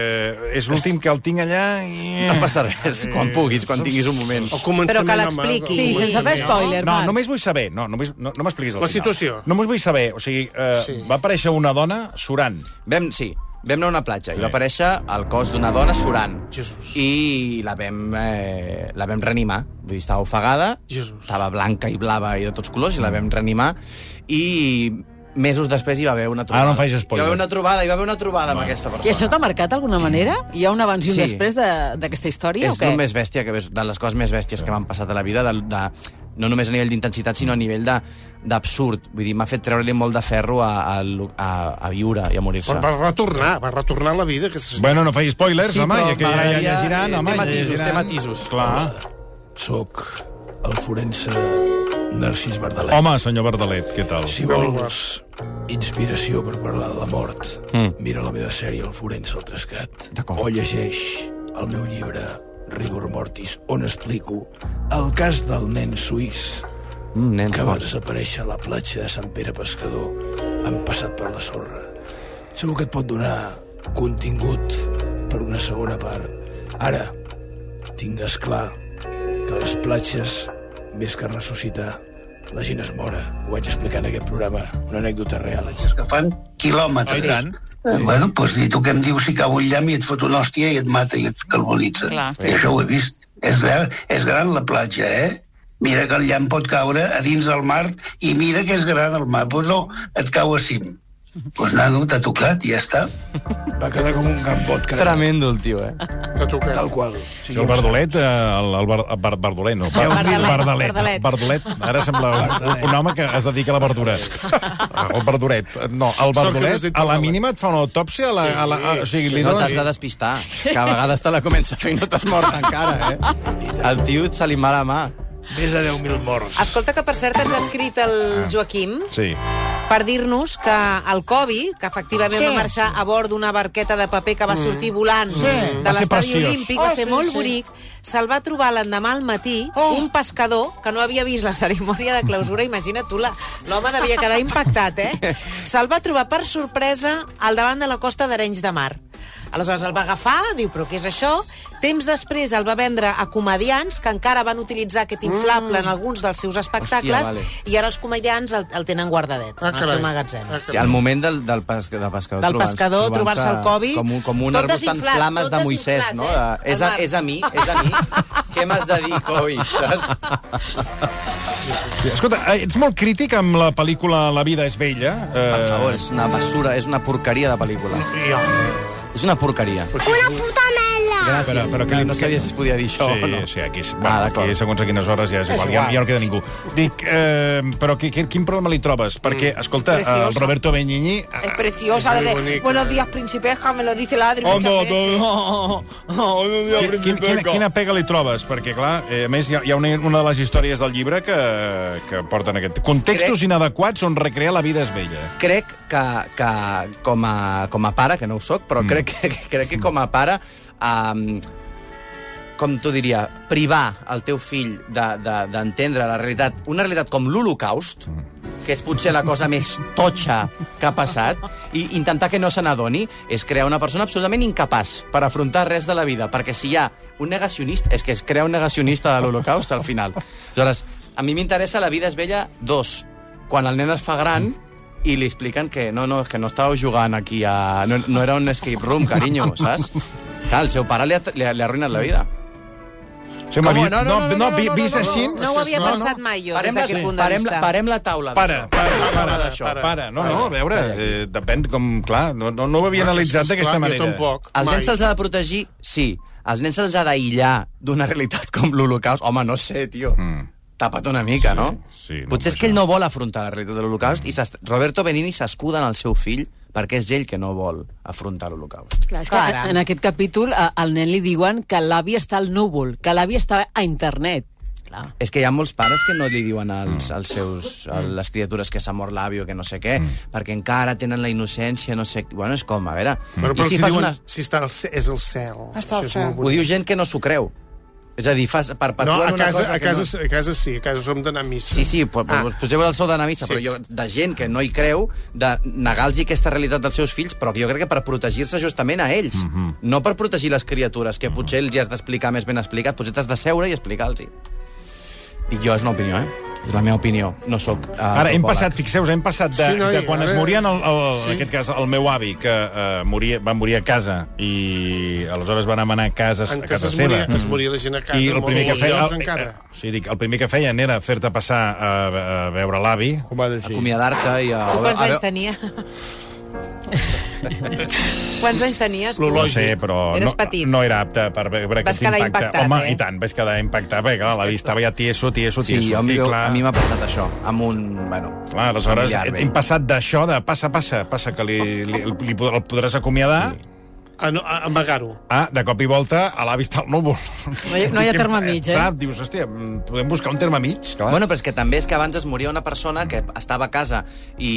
[SPEAKER 1] és l'últim que el tinc allà... I...
[SPEAKER 3] No passa res, quan puguis, quan tinguis un moment.
[SPEAKER 2] El començament,
[SPEAKER 5] Però que
[SPEAKER 2] home,
[SPEAKER 5] l'expliqui.
[SPEAKER 2] el
[SPEAKER 7] Sí, sense fer
[SPEAKER 2] començament.
[SPEAKER 7] spoiler,
[SPEAKER 1] No,
[SPEAKER 7] Marc.
[SPEAKER 1] només vull saber, no, només, no, no m'expliquis el
[SPEAKER 2] La
[SPEAKER 1] final.
[SPEAKER 2] situació.
[SPEAKER 1] Només vull saber, o sigui, eh, sí.
[SPEAKER 2] Sí.
[SPEAKER 1] va aparèixer una dona surant.
[SPEAKER 3] Vam, sí, vam anar a una platja i
[SPEAKER 1] Sí.
[SPEAKER 3] va aparèixer el cos d'una dona surant.
[SPEAKER 2] Jesús.
[SPEAKER 3] I la vam, eh, la vam reanimar. Vull dir, estava ofegada,
[SPEAKER 2] Jesús.
[SPEAKER 3] estava blanca i blava i de tots colors, i la vam reanimar. I mesos després hi va haver una trobada.
[SPEAKER 1] Ara no em facis spoiler.
[SPEAKER 3] Hi va haver una trobada, hi va haver una trobada amb aquesta persona.
[SPEAKER 7] I això t'ha marcat d'alguna manera? Hi ha un abans i un
[SPEAKER 3] Sí.
[SPEAKER 7] després de- d'aquesta història
[SPEAKER 3] és
[SPEAKER 7] o què?
[SPEAKER 3] el més bèstia que veus, de les coses més bèsties que m'han passat a la vida, de, de, no només a nivell d'intensitat, sinó a nivell de- d'absurd. Vull dir, m'ha fet treure-li molt de ferro a, a, a, a viure i a morir-se.
[SPEAKER 2] Però va retornar, va retornar a la vida. Aquesta senyora.
[SPEAKER 1] Bueno, no facis spoilers,
[SPEAKER 3] Sí,
[SPEAKER 1] home,
[SPEAKER 3] però
[SPEAKER 1] ja que ja, ja
[SPEAKER 3] m'agradaria-
[SPEAKER 1] llegiran,
[SPEAKER 3] eh,
[SPEAKER 1] home,
[SPEAKER 3] té
[SPEAKER 1] ja
[SPEAKER 3] matisos,
[SPEAKER 1] llegiran.
[SPEAKER 3] té matisos.
[SPEAKER 1] Clar.
[SPEAKER 11] Soc el forense Narcís Bardalet.
[SPEAKER 1] Home, senyor Bardalet, què tal?
[SPEAKER 11] Si vols inspiració per parlar de la mort,
[SPEAKER 3] Mm.
[SPEAKER 11] mira la meva sèrie El forense al trascat.
[SPEAKER 3] D'acord.
[SPEAKER 11] O llegeix el meu llibre Rigor Mortis, on explico el cas del nen suís
[SPEAKER 3] Mm, nen,
[SPEAKER 11] que va desaparèixer a la platja de Sant Pere Pescador han passat per la sorra. Segur que et pot donar contingut per una segona part. Ara, tingues clar que a les platges, més que ressuscitar, la gent es mora. Ho vaig explicar en aquest programa, una anècdota real.
[SPEAKER 10] que fan quilòmetres. Eh, bueno, doncs i tu que em dius si cau un llamp i et fot una hòstia i et mata i et carbonitza.
[SPEAKER 7] Clar.
[SPEAKER 10] I això ho he vist. És gran, és gran la platja, eh? Mira que el llamp pot caure a dins del mar i mira que és gran el mar. Però no, et cau a cim. Doncs pues, nano, t'ha tocat, ja està.
[SPEAKER 11] Va quedar com un gambot, cara.
[SPEAKER 3] Tremendo el tio, eh?
[SPEAKER 2] T'ha tocat.
[SPEAKER 11] Tal qual.
[SPEAKER 1] Sí, el Bardolet, eh, el, el Bar, Bar, Bardolet, no. Bar,
[SPEAKER 5] Bardalet,
[SPEAKER 1] Bardalet,
[SPEAKER 5] Bardalet.
[SPEAKER 1] Bardolet. Ara sembla un, un home que es dedica a la verdura. El Bardoret. No, el
[SPEAKER 2] Sort que no has
[SPEAKER 1] Bardolet,
[SPEAKER 2] dit
[SPEAKER 1] a la
[SPEAKER 2] Bardalet.
[SPEAKER 1] mínima et fa una autòpsia, a la, a la, a, o sigui, li
[SPEAKER 3] No
[SPEAKER 1] dones...
[SPEAKER 3] t'has de despistar, que a vegades te la comença a fer i no t'has mort encara, eh? El tio se li mala mà.
[SPEAKER 11] Més de 10.000 morts.
[SPEAKER 4] Escolta, que per cert ens ha escrit el Joaquim
[SPEAKER 1] Sí.
[SPEAKER 4] per dir-nos que el Kobe, que efectivament
[SPEAKER 8] Sí.
[SPEAKER 4] va marxar a bord d'una barqueta de paper que va sortir volant de
[SPEAKER 1] Mm. Va ser
[SPEAKER 4] l'estadi
[SPEAKER 1] preciós.
[SPEAKER 4] olímpic, va
[SPEAKER 8] Oh,
[SPEAKER 4] ser
[SPEAKER 8] sí,
[SPEAKER 4] molt
[SPEAKER 8] sí.
[SPEAKER 4] bonic, se'l va trobar l'endemà al matí
[SPEAKER 8] Oh.
[SPEAKER 4] un pescador que no havia vist la cerimònia de clausura, imagina't tu, la- l'home devia quedar impactat,
[SPEAKER 1] <laughs>
[SPEAKER 4] eh? Se'l va trobar per sorpresa al davant de la costa d'Arenys de Mar. Aleshores el va agafar, diu, però què és això? Temps després el va vendre a comedians que encara van utilitzar aquest inflable
[SPEAKER 1] Mm.
[SPEAKER 4] en alguns dels seus espectacles
[SPEAKER 3] Hòstia, vale.
[SPEAKER 4] i ara els comedians el, el tenen guardadet
[SPEAKER 2] Ah,
[SPEAKER 4] en el seu
[SPEAKER 2] carai.
[SPEAKER 4] magatzem.
[SPEAKER 2] Ah, carai.
[SPEAKER 3] Al moment del, del, pes, del pescador,
[SPEAKER 4] Del pescador, trobar-se al Covid,
[SPEAKER 3] Com, un- com un
[SPEAKER 4] tot
[SPEAKER 3] arbust amb
[SPEAKER 4] desinflat,
[SPEAKER 3] flames
[SPEAKER 4] tot
[SPEAKER 3] de Moisès,
[SPEAKER 4] desinflat,
[SPEAKER 3] no?
[SPEAKER 4] eh?
[SPEAKER 3] De, és, a,
[SPEAKER 4] El mar.
[SPEAKER 3] és a mi, és a mi. Què m'has de dir, Covid? Saps?
[SPEAKER 1] Sí, Escolta, eh, ets molt crític amb la pel·lícula La vida és vella. Eh,
[SPEAKER 3] Per favor, és una basura, és una porqueria de pel·lícula.
[SPEAKER 2] Ja.
[SPEAKER 3] És una porqueria. Gràcies.
[SPEAKER 1] Però- però que li-
[SPEAKER 3] no sabia si es podia dir això
[SPEAKER 1] sí,
[SPEAKER 3] o no.
[SPEAKER 1] sí, aquí, és-
[SPEAKER 3] Ah,
[SPEAKER 1] bueno,
[SPEAKER 3] d'acord.
[SPEAKER 1] aquí segons a quines hores ja és igual, ja, ja no queda ningú. Dic, eh, però qui, qui- quin problema li trobes?
[SPEAKER 3] Mm.
[SPEAKER 1] Perquè, escolta,
[SPEAKER 5] Preciosa.
[SPEAKER 1] el Roberto Benigni...
[SPEAKER 5] Es
[SPEAKER 2] Es
[SPEAKER 5] preciosa, la
[SPEAKER 2] muy
[SPEAKER 5] de
[SPEAKER 2] bonita.
[SPEAKER 5] Buenos días, principesca, me lo dice la Adri muchas veces.
[SPEAKER 1] Quin, quin, quina, quina pega li trobes? Perquè, clar, eh, a més, hi ha, hi ha una, una de les històries del llibre que, que porten aquest... Contextos
[SPEAKER 3] Crec-
[SPEAKER 1] inadequats on recrear la vida és vella.
[SPEAKER 3] crec que, que com, a, com a pare, que no ho sóc, però
[SPEAKER 1] Mm.
[SPEAKER 3] mm. crec, que, crec que com a pare... Um, com t'ho diria, privar el teu fill de- de- d'entendre de, la realitat, una realitat com l'Holocaust, que és potser la cosa més totxa que ha passat, i intentar que no se n'adoni, és crear una persona absolutament incapaç per afrontar res de la vida, perquè si hi ha un negacionista, és que es crea un negacionista de l'Holocaust al final. Aleshores, a mi m'interessa La vida és vella 2, quan el nen es fa gran i li expliquen que no, no, és que no estàveu jugant aquí a... No, no era un escape room, carinyo, saps? Clar, el seu pare li ha, li ha, li ha arruinat la vida.
[SPEAKER 1] Sembla
[SPEAKER 3] Com?
[SPEAKER 1] vi-
[SPEAKER 3] No, no, no, no, no,
[SPEAKER 1] vi-
[SPEAKER 3] no,
[SPEAKER 1] vist
[SPEAKER 3] no, no,
[SPEAKER 1] així...
[SPEAKER 3] no.
[SPEAKER 5] No ho havia
[SPEAKER 1] No, no.
[SPEAKER 5] pensat mai jo, des
[SPEAKER 3] la,
[SPEAKER 5] d'aquest punt de
[SPEAKER 3] parem, la,
[SPEAKER 5] vista.
[SPEAKER 3] parem la taula.
[SPEAKER 1] Para,
[SPEAKER 3] d'això.
[SPEAKER 1] para, para,
[SPEAKER 2] Para,
[SPEAKER 1] d'això,
[SPEAKER 2] para.
[SPEAKER 1] para. No, no, a veure, eh, depèn com... Clar, no, no, no ho havia
[SPEAKER 2] Clar,
[SPEAKER 1] analitzat
[SPEAKER 2] és
[SPEAKER 1] d'aquesta
[SPEAKER 2] clar,
[SPEAKER 1] manera.
[SPEAKER 2] Jo tampoc.
[SPEAKER 3] Els
[SPEAKER 2] mai.
[SPEAKER 3] nens se'ls ha de protegir? Sí. Els nens se'ls ha d'aïllar d'una realitat com l'Holocaust? Home, no sé, tio.
[SPEAKER 1] Mm.
[SPEAKER 3] Mm. Tapa't una mica,
[SPEAKER 1] Sí,
[SPEAKER 3] no?
[SPEAKER 1] sí, no
[SPEAKER 3] Potser és
[SPEAKER 1] passa
[SPEAKER 3] que ell
[SPEAKER 1] res.
[SPEAKER 3] no vol afrontar la realitat de l'Holocaust i s'est- Roberto Benini s'escuda en el seu fill perquè és ell que no vol afrontar l'Holocaust.
[SPEAKER 7] Clar, és que
[SPEAKER 3] Caram.
[SPEAKER 7] en aquest capítol a- al nen li diuen que l'avi està al núvol, que l'avi està a internet. Clar.
[SPEAKER 3] És que hi ha molts pares que no li diuen als,
[SPEAKER 2] Mm.
[SPEAKER 3] als seus, a les criatures que s'ha mort l'avi o que no sé què,
[SPEAKER 2] Mm.
[SPEAKER 3] perquè encara tenen la innocència, no sé... Bueno, és com, a veure...
[SPEAKER 2] Bueno, però
[SPEAKER 3] I
[SPEAKER 2] si,
[SPEAKER 3] fas
[SPEAKER 2] diuen,
[SPEAKER 3] una-
[SPEAKER 2] si està al, ce- és el cel. Això
[SPEAKER 3] Està al
[SPEAKER 2] és
[SPEAKER 3] cel.
[SPEAKER 2] molt
[SPEAKER 3] Ho
[SPEAKER 2] bonic.
[SPEAKER 3] diu gent que no s'ho creu. És a dir, fas,
[SPEAKER 2] No,
[SPEAKER 3] perpetuen
[SPEAKER 2] a
[SPEAKER 3] una
[SPEAKER 2] casa,
[SPEAKER 3] cosa
[SPEAKER 2] a
[SPEAKER 3] que
[SPEAKER 2] casa,
[SPEAKER 3] no...
[SPEAKER 2] a casa sí, a casa som d'anar a missa.
[SPEAKER 3] Sí, sí, po-
[SPEAKER 2] Ah.
[SPEAKER 3] po- poseu el sou d'anar a missa,
[SPEAKER 2] Sí.
[SPEAKER 3] però jo, de gent que no hi creu, de negar-los aquesta realitat dels seus fills, però que jo crec que per protegir-se justament a ells,
[SPEAKER 1] Mhm.
[SPEAKER 3] no per protegir les criatures, que potser els hi has d'explicar més ben explicat, potser t'has de seure i explicar-los. I jo, és una opinió, eh? És la meva opinió, no sóc... Uh,
[SPEAKER 4] Ah,
[SPEAKER 1] Ara, hem passat, fixeu-vos, hem passat de,
[SPEAKER 3] Sí, noi,
[SPEAKER 1] de quan
[SPEAKER 3] ara-
[SPEAKER 1] es morien, el, el, sí.
[SPEAKER 3] Sí.
[SPEAKER 1] en aquest cas, el meu avi, que uh, moria, va morir a casa, i aleshores van anar a casa,
[SPEAKER 2] En
[SPEAKER 1] a
[SPEAKER 2] casa
[SPEAKER 1] casa
[SPEAKER 2] es
[SPEAKER 1] seva.
[SPEAKER 2] moria- es moria la gent a casa,
[SPEAKER 1] I
[SPEAKER 2] en
[SPEAKER 1] el primer que
[SPEAKER 2] molts
[SPEAKER 1] feia,
[SPEAKER 2] llocs encara.
[SPEAKER 1] eh, sí, dic, el primer que feien era fer-te passar a, a veure l'avi. Com va dir
[SPEAKER 3] Acomiadar-te i... A...
[SPEAKER 4] Tu quants
[SPEAKER 1] a
[SPEAKER 5] <laughs>
[SPEAKER 4] anys tenia? quants anys tenies? tu?
[SPEAKER 1] No sé, però
[SPEAKER 4] Eres
[SPEAKER 1] no,
[SPEAKER 4] petit.
[SPEAKER 1] no era apte per veure
[SPEAKER 4] Vas
[SPEAKER 1] aquest
[SPEAKER 4] quedar
[SPEAKER 1] impacte.
[SPEAKER 4] impactat,
[SPEAKER 1] Home,
[SPEAKER 4] eh?
[SPEAKER 1] i tant, vaig quedar impactat, perquè clar, la vista veia tieso, tieso,
[SPEAKER 3] Sí,
[SPEAKER 1] tieso.
[SPEAKER 3] jo, a mi,
[SPEAKER 1] I, clar,
[SPEAKER 3] a mi m'ha passat això, amb un... Bueno,
[SPEAKER 1] Clar, aleshores, eh,
[SPEAKER 3] familiar,
[SPEAKER 4] eh?
[SPEAKER 1] hem passat d'això de passa, passa, passa, que li, li, li, pod- el podràs acomiadar...
[SPEAKER 2] A, no, a amagar-ho.
[SPEAKER 1] Ah, de cop i volta, a l'avi està al núvol.
[SPEAKER 7] No hi- no hi ha terme mig, eh?
[SPEAKER 1] Saps? Dius, hòstia, mm, podem buscar un terme mig? Clar.
[SPEAKER 3] Bueno, però és que també és que abans es moria una persona que estava a casa i,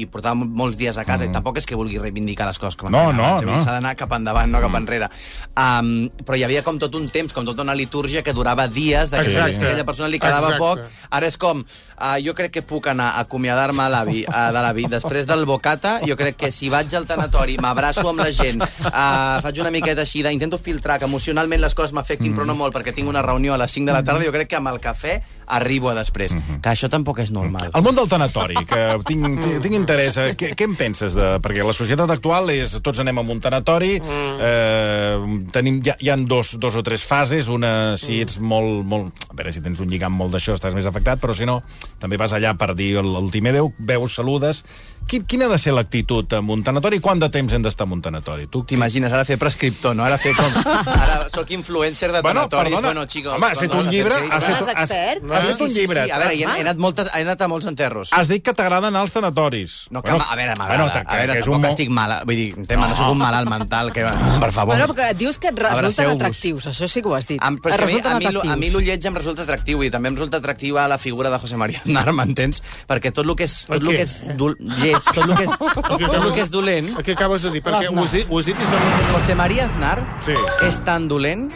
[SPEAKER 3] i portava mo- molts dies a casa, mm. i tampoc és que vulgui reivindicar les coses com es
[SPEAKER 1] No,
[SPEAKER 3] feien
[SPEAKER 1] no,
[SPEAKER 3] abans, vull dir,
[SPEAKER 1] no. Mm.
[SPEAKER 3] s'ha d'anar cap endavant, no cap enrere. Um, però hi havia com tot un temps, com tota una litúrgia que durava dies, de que
[SPEAKER 1] Exacte.
[SPEAKER 3] a aquella persona li quedava
[SPEAKER 1] Exacte.
[SPEAKER 3] poc. Ara és com, uh, jo crec que puc anar a acomiadar-me a l'avi, uh, de l'avi, després del bocata, jo crec que si vaig al tanatori, m'abraço amb la gent, uh, faig una miqueta així, de, intento filtrar que emocionalment les coses m'afectin, mm. però no
[SPEAKER 1] Mhm.
[SPEAKER 3] molt, perquè tinc una reunió a les 5 de la tarda, jo crec que amb el cafè arribo a després. Mm -hmm. Que això tampoc és normal.
[SPEAKER 1] Mhm. El món del tanatori, que tinc, <laughs> tinc, tinc interès. eh, Què, què en penses? De, perquè la societat actual és... Tots anem a un tanatori,
[SPEAKER 7] Mm.
[SPEAKER 1] eh, tenim, hi, ha, hi ha dos, dos o tres fases, una
[SPEAKER 7] Mm.
[SPEAKER 1] si ets molt, molt... A veure, si tens un lligam molt d'això estàs més afectat, però si no, també vas allà per dir el- l'últim adeu, veus, saludes... Qui- Quina ha de ser l'actitud amb un tanatori? Quant de temps hem d'estar en un tanatori? Tu
[SPEAKER 3] T'imagines ara fer prescriptor, no? Ara fer com... Ara sóc influencer de
[SPEAKER 1] Bueno,
[SPEAKER 3] tanatoris.
[SPEAKER 1] perdona.
[SPEAKER 3] Bueno, chicos,
[SPEAKER 1] Home, has fet un llibre, has fet-
[SPEAKER 4] Dones has- expert?
[SPEAKER 3] Has
[SPEAKER 4] has
[SPEAKER 3] fet un llibre. Sí, sí, a veure, he, he,
[SPEAKER 4] Ah.
[SPEAKER 3] anat moltes, he anat a molts enterros.
[SPEAKER 1] Has dit que t'agraden els tanatoris.
[SPEAKER 3] No, que, bueno, a veure, m'agrada.
[SPEAKER 1] que-
[SPEAKER 3] a veure,
[SPEAKER 1] que és un
[SPEAKER 3] tampoc
[SPEAKER 1] món-
[SPEAKER 3] estic mala. Vull dir, tema, no, no sóc un malalt mental que... <laughs> Per favor.
[SPEAKER 7] Bueno, perquè dius que et resulten
[SPEAKER 3] Abraceu-vos.
[SPEAKER 7] atractius, això sí que ho has dit.
[SPEAKER 3] Em, però és
[SPEAKER 7] Et
[SPEAKER 3] que a mi,
[SPEAKER 7] resulten
[SPEAKER 3] a mi, lo-
[SPEAKER 7] atractius.
[SPEAKER 3] a mi lo lletge em resulta atractiu i també em resulta atractiva la figura de José María Aznar, <laughs> m'entens? Perquè tot el que és, tot lo
[SPEAKER 2] què?
[SPEAKER 3] que és dol, lleig, tot el que <laughs> és, tot lo que és dolent...
[SPEAKER 2] El que acabes de dir, perquè ho has dit, ho has dit i sembla...
[SPEAKER 3] José María Aznar sí. és tan dolent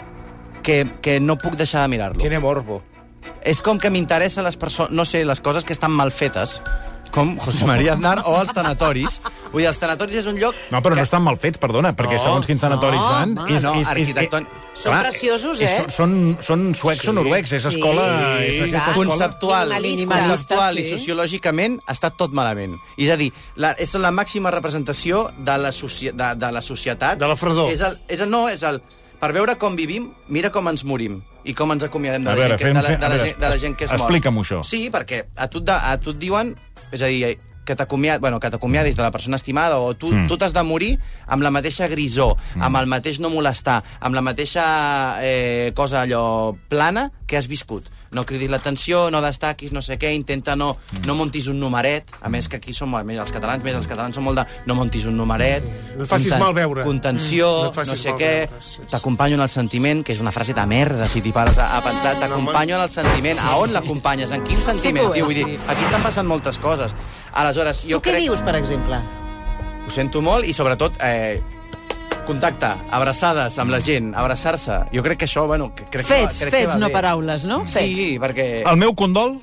[SPEAKER 3] que, que no puc deixar de mirar-lo. Tiene morbo. És com que m'interessen les persones, no sé, les coses que estan mal fetes, com José María Aznar o els tanatoris. Vull dir, els tanatoris és un lloc...
[SPEAKER 1] No, però no estan mal fets, perdona, perquè
[SPEAKER 3] No,
[SPEAKER 1] segons quins tanatoris
[SPEAKER 3] no,
[SPEAKER 1] van...
[SPEAKER 3] home, no, arquitectònic- Són preciosos, eh?
[SPEAKER 1] eh, Són, són, són suecs o noruecs, és escola... És aquesta escola...
[SPEAKER 3] conceptual,
[SPEAKER 1] Minimalista,
[SPEAKER 3] conceptual i
[SPEAKER 1] sí.
[SPEAKER 3] sociològicament està tot malament. És a dir, la, és la màxima representació de la, soci, de, de la societat. De la
[SPEAKER 2] fredor.
[SPEAKER 3] És el, és el, no, és el... Per veure com vivim, mira com ens morim i com ens acomiadem de
[SPEAKER 1] A
[SPEAKER 3] la,
[SPEAKER 1] veure,
[SPEAKER 3] gent, que, de la,
[SPEAKER 1] fem-
[SPEAKER 3] de la,
[SPEAKER 1] a veure,
[SPEAKER 3] gent, de la gent que es mor.
[SPEAKER 1] explica'm això.
[SPEAKER 3] Sí, perquè a tu, et de, a tu et diuen... És a dir, que t'acomiad- bueno, que t'acomiadis de la persona estimada o tu,
[SPEAKER 1] Mm.
[SPEAKER 3] mm. tu t'has de morir amb la mateixa grisó, mm. amb el mateix no molestar, amb la mateixa eh, cosa allò plana que has viscut. No cridis l'atenció, no destaquis, no sé què, intenta no,
[SPEAKER 2] Mm.
[SPEAKER 3] no montis un numeret. A més, que aquí som més els catalans, més els catalans són molt de no montis un numeret.
[SPEAKER 2] No et facis mal veure.
[SPEAKER 3] Contenció,
[SPEAKER 2] Mm. No
[SPEAKER 3] no,
[SPEAKER 2] et facis
[SPEAKER 3] no sé
[SPEAKER 2] mal
[SPEAKER 3] què.
[SPEAKER 2] veure,
[SPEAKER 3] T'acompanyo en el sentiment, que és una frase de merda, si t'hi pares a, a pensar. T'acompanyo en el sentiment. A on l'acompanyes? En quin sentiment?
[SPEAKER 4] Ah. que
[SPEAKER 3] tio?
[SPEAKER 4] ho és,
[SPEAKER 3] Vull dir,
[SPEAKER 4] sí.
[SPEAKER 3] aquí estan passant moltes coses. Aleshores, jo
[SPEAKER 4] Tu què
[SPEAKER 3] crec...
[SPEAKER 4] dius, per exemple?
[SPEAKER 3] Ho sento molt i, sobretot, eh, contacte, abraçades amb la gent, abraçar-se. Jo crec que això, bueno... que- Crec
[SPEAKER 7] Fets,
[SPEAKER 3] que va, crec
[SPEAKER 7] fets,
[SPEAKER 3] que va
[SPEAKER 7] no
[SPEAKER 3] bé.
[SPEAKER 7] paraules, no? Fets.
[SPEAKER 3] Sí, perquè...
[SPEAKER 1] El meu condol?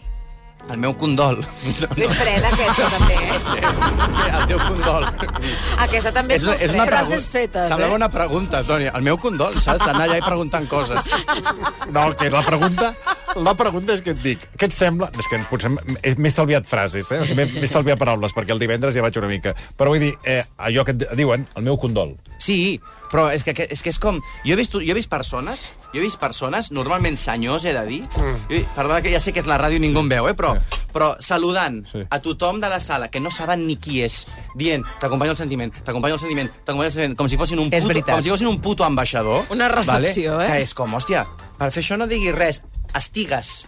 [SPEAKER 3] El meu condol. <laughs>
[SPEAKER 4] És freda, aquesta, també.
[SPEAKER 5] eh.
[SPEAKER 3] El teu condol.
[SPEAKER 4] Aquesta també és, molt freda. eh?
[SPEAKER 3] Semblava una pregunta, Toni. El meu condol, saps? Anar allà i preguntant coses.
[SPEAKER 1] No, que la pregunta... La pregunta és que et dic, què et sembla... És que potser m'he m'he estalviat frases, eh? O sigui, m'he- m'he estalviat paraules, perquè el divendres ja vaig una mica. Però vull dir, eh, allò que et diuen, el meu condol.
[SPEAKER 3] Sí, però és que, és que és com... Jo he vist, jo he vist persones, jo he vist persones, normalment senyors, he de dir, mm. perdona, que ja sé que és la ràdio i ningú em veu, eh, però, però saludant sí. a tothom de la sala, que no saben ni qui és, dient, t'acompanyo el sentiment, t'acompanyo el sentiment, t'acompanyo el sentiment, com si fossin un
[SPEAKER 7] És
[SPEAKER 3] puto,
[SPEAKER 7] veritat.
[SPEAKER 3] com si fossin un puto ambaixador.
[SPEAKER 7] Una recepció,
[SPEAKER 3] vale?
[SPEAKER 7] eh?
[SPEAKER 3] Que és com, hòstia, per fer això no diguis res, estigues.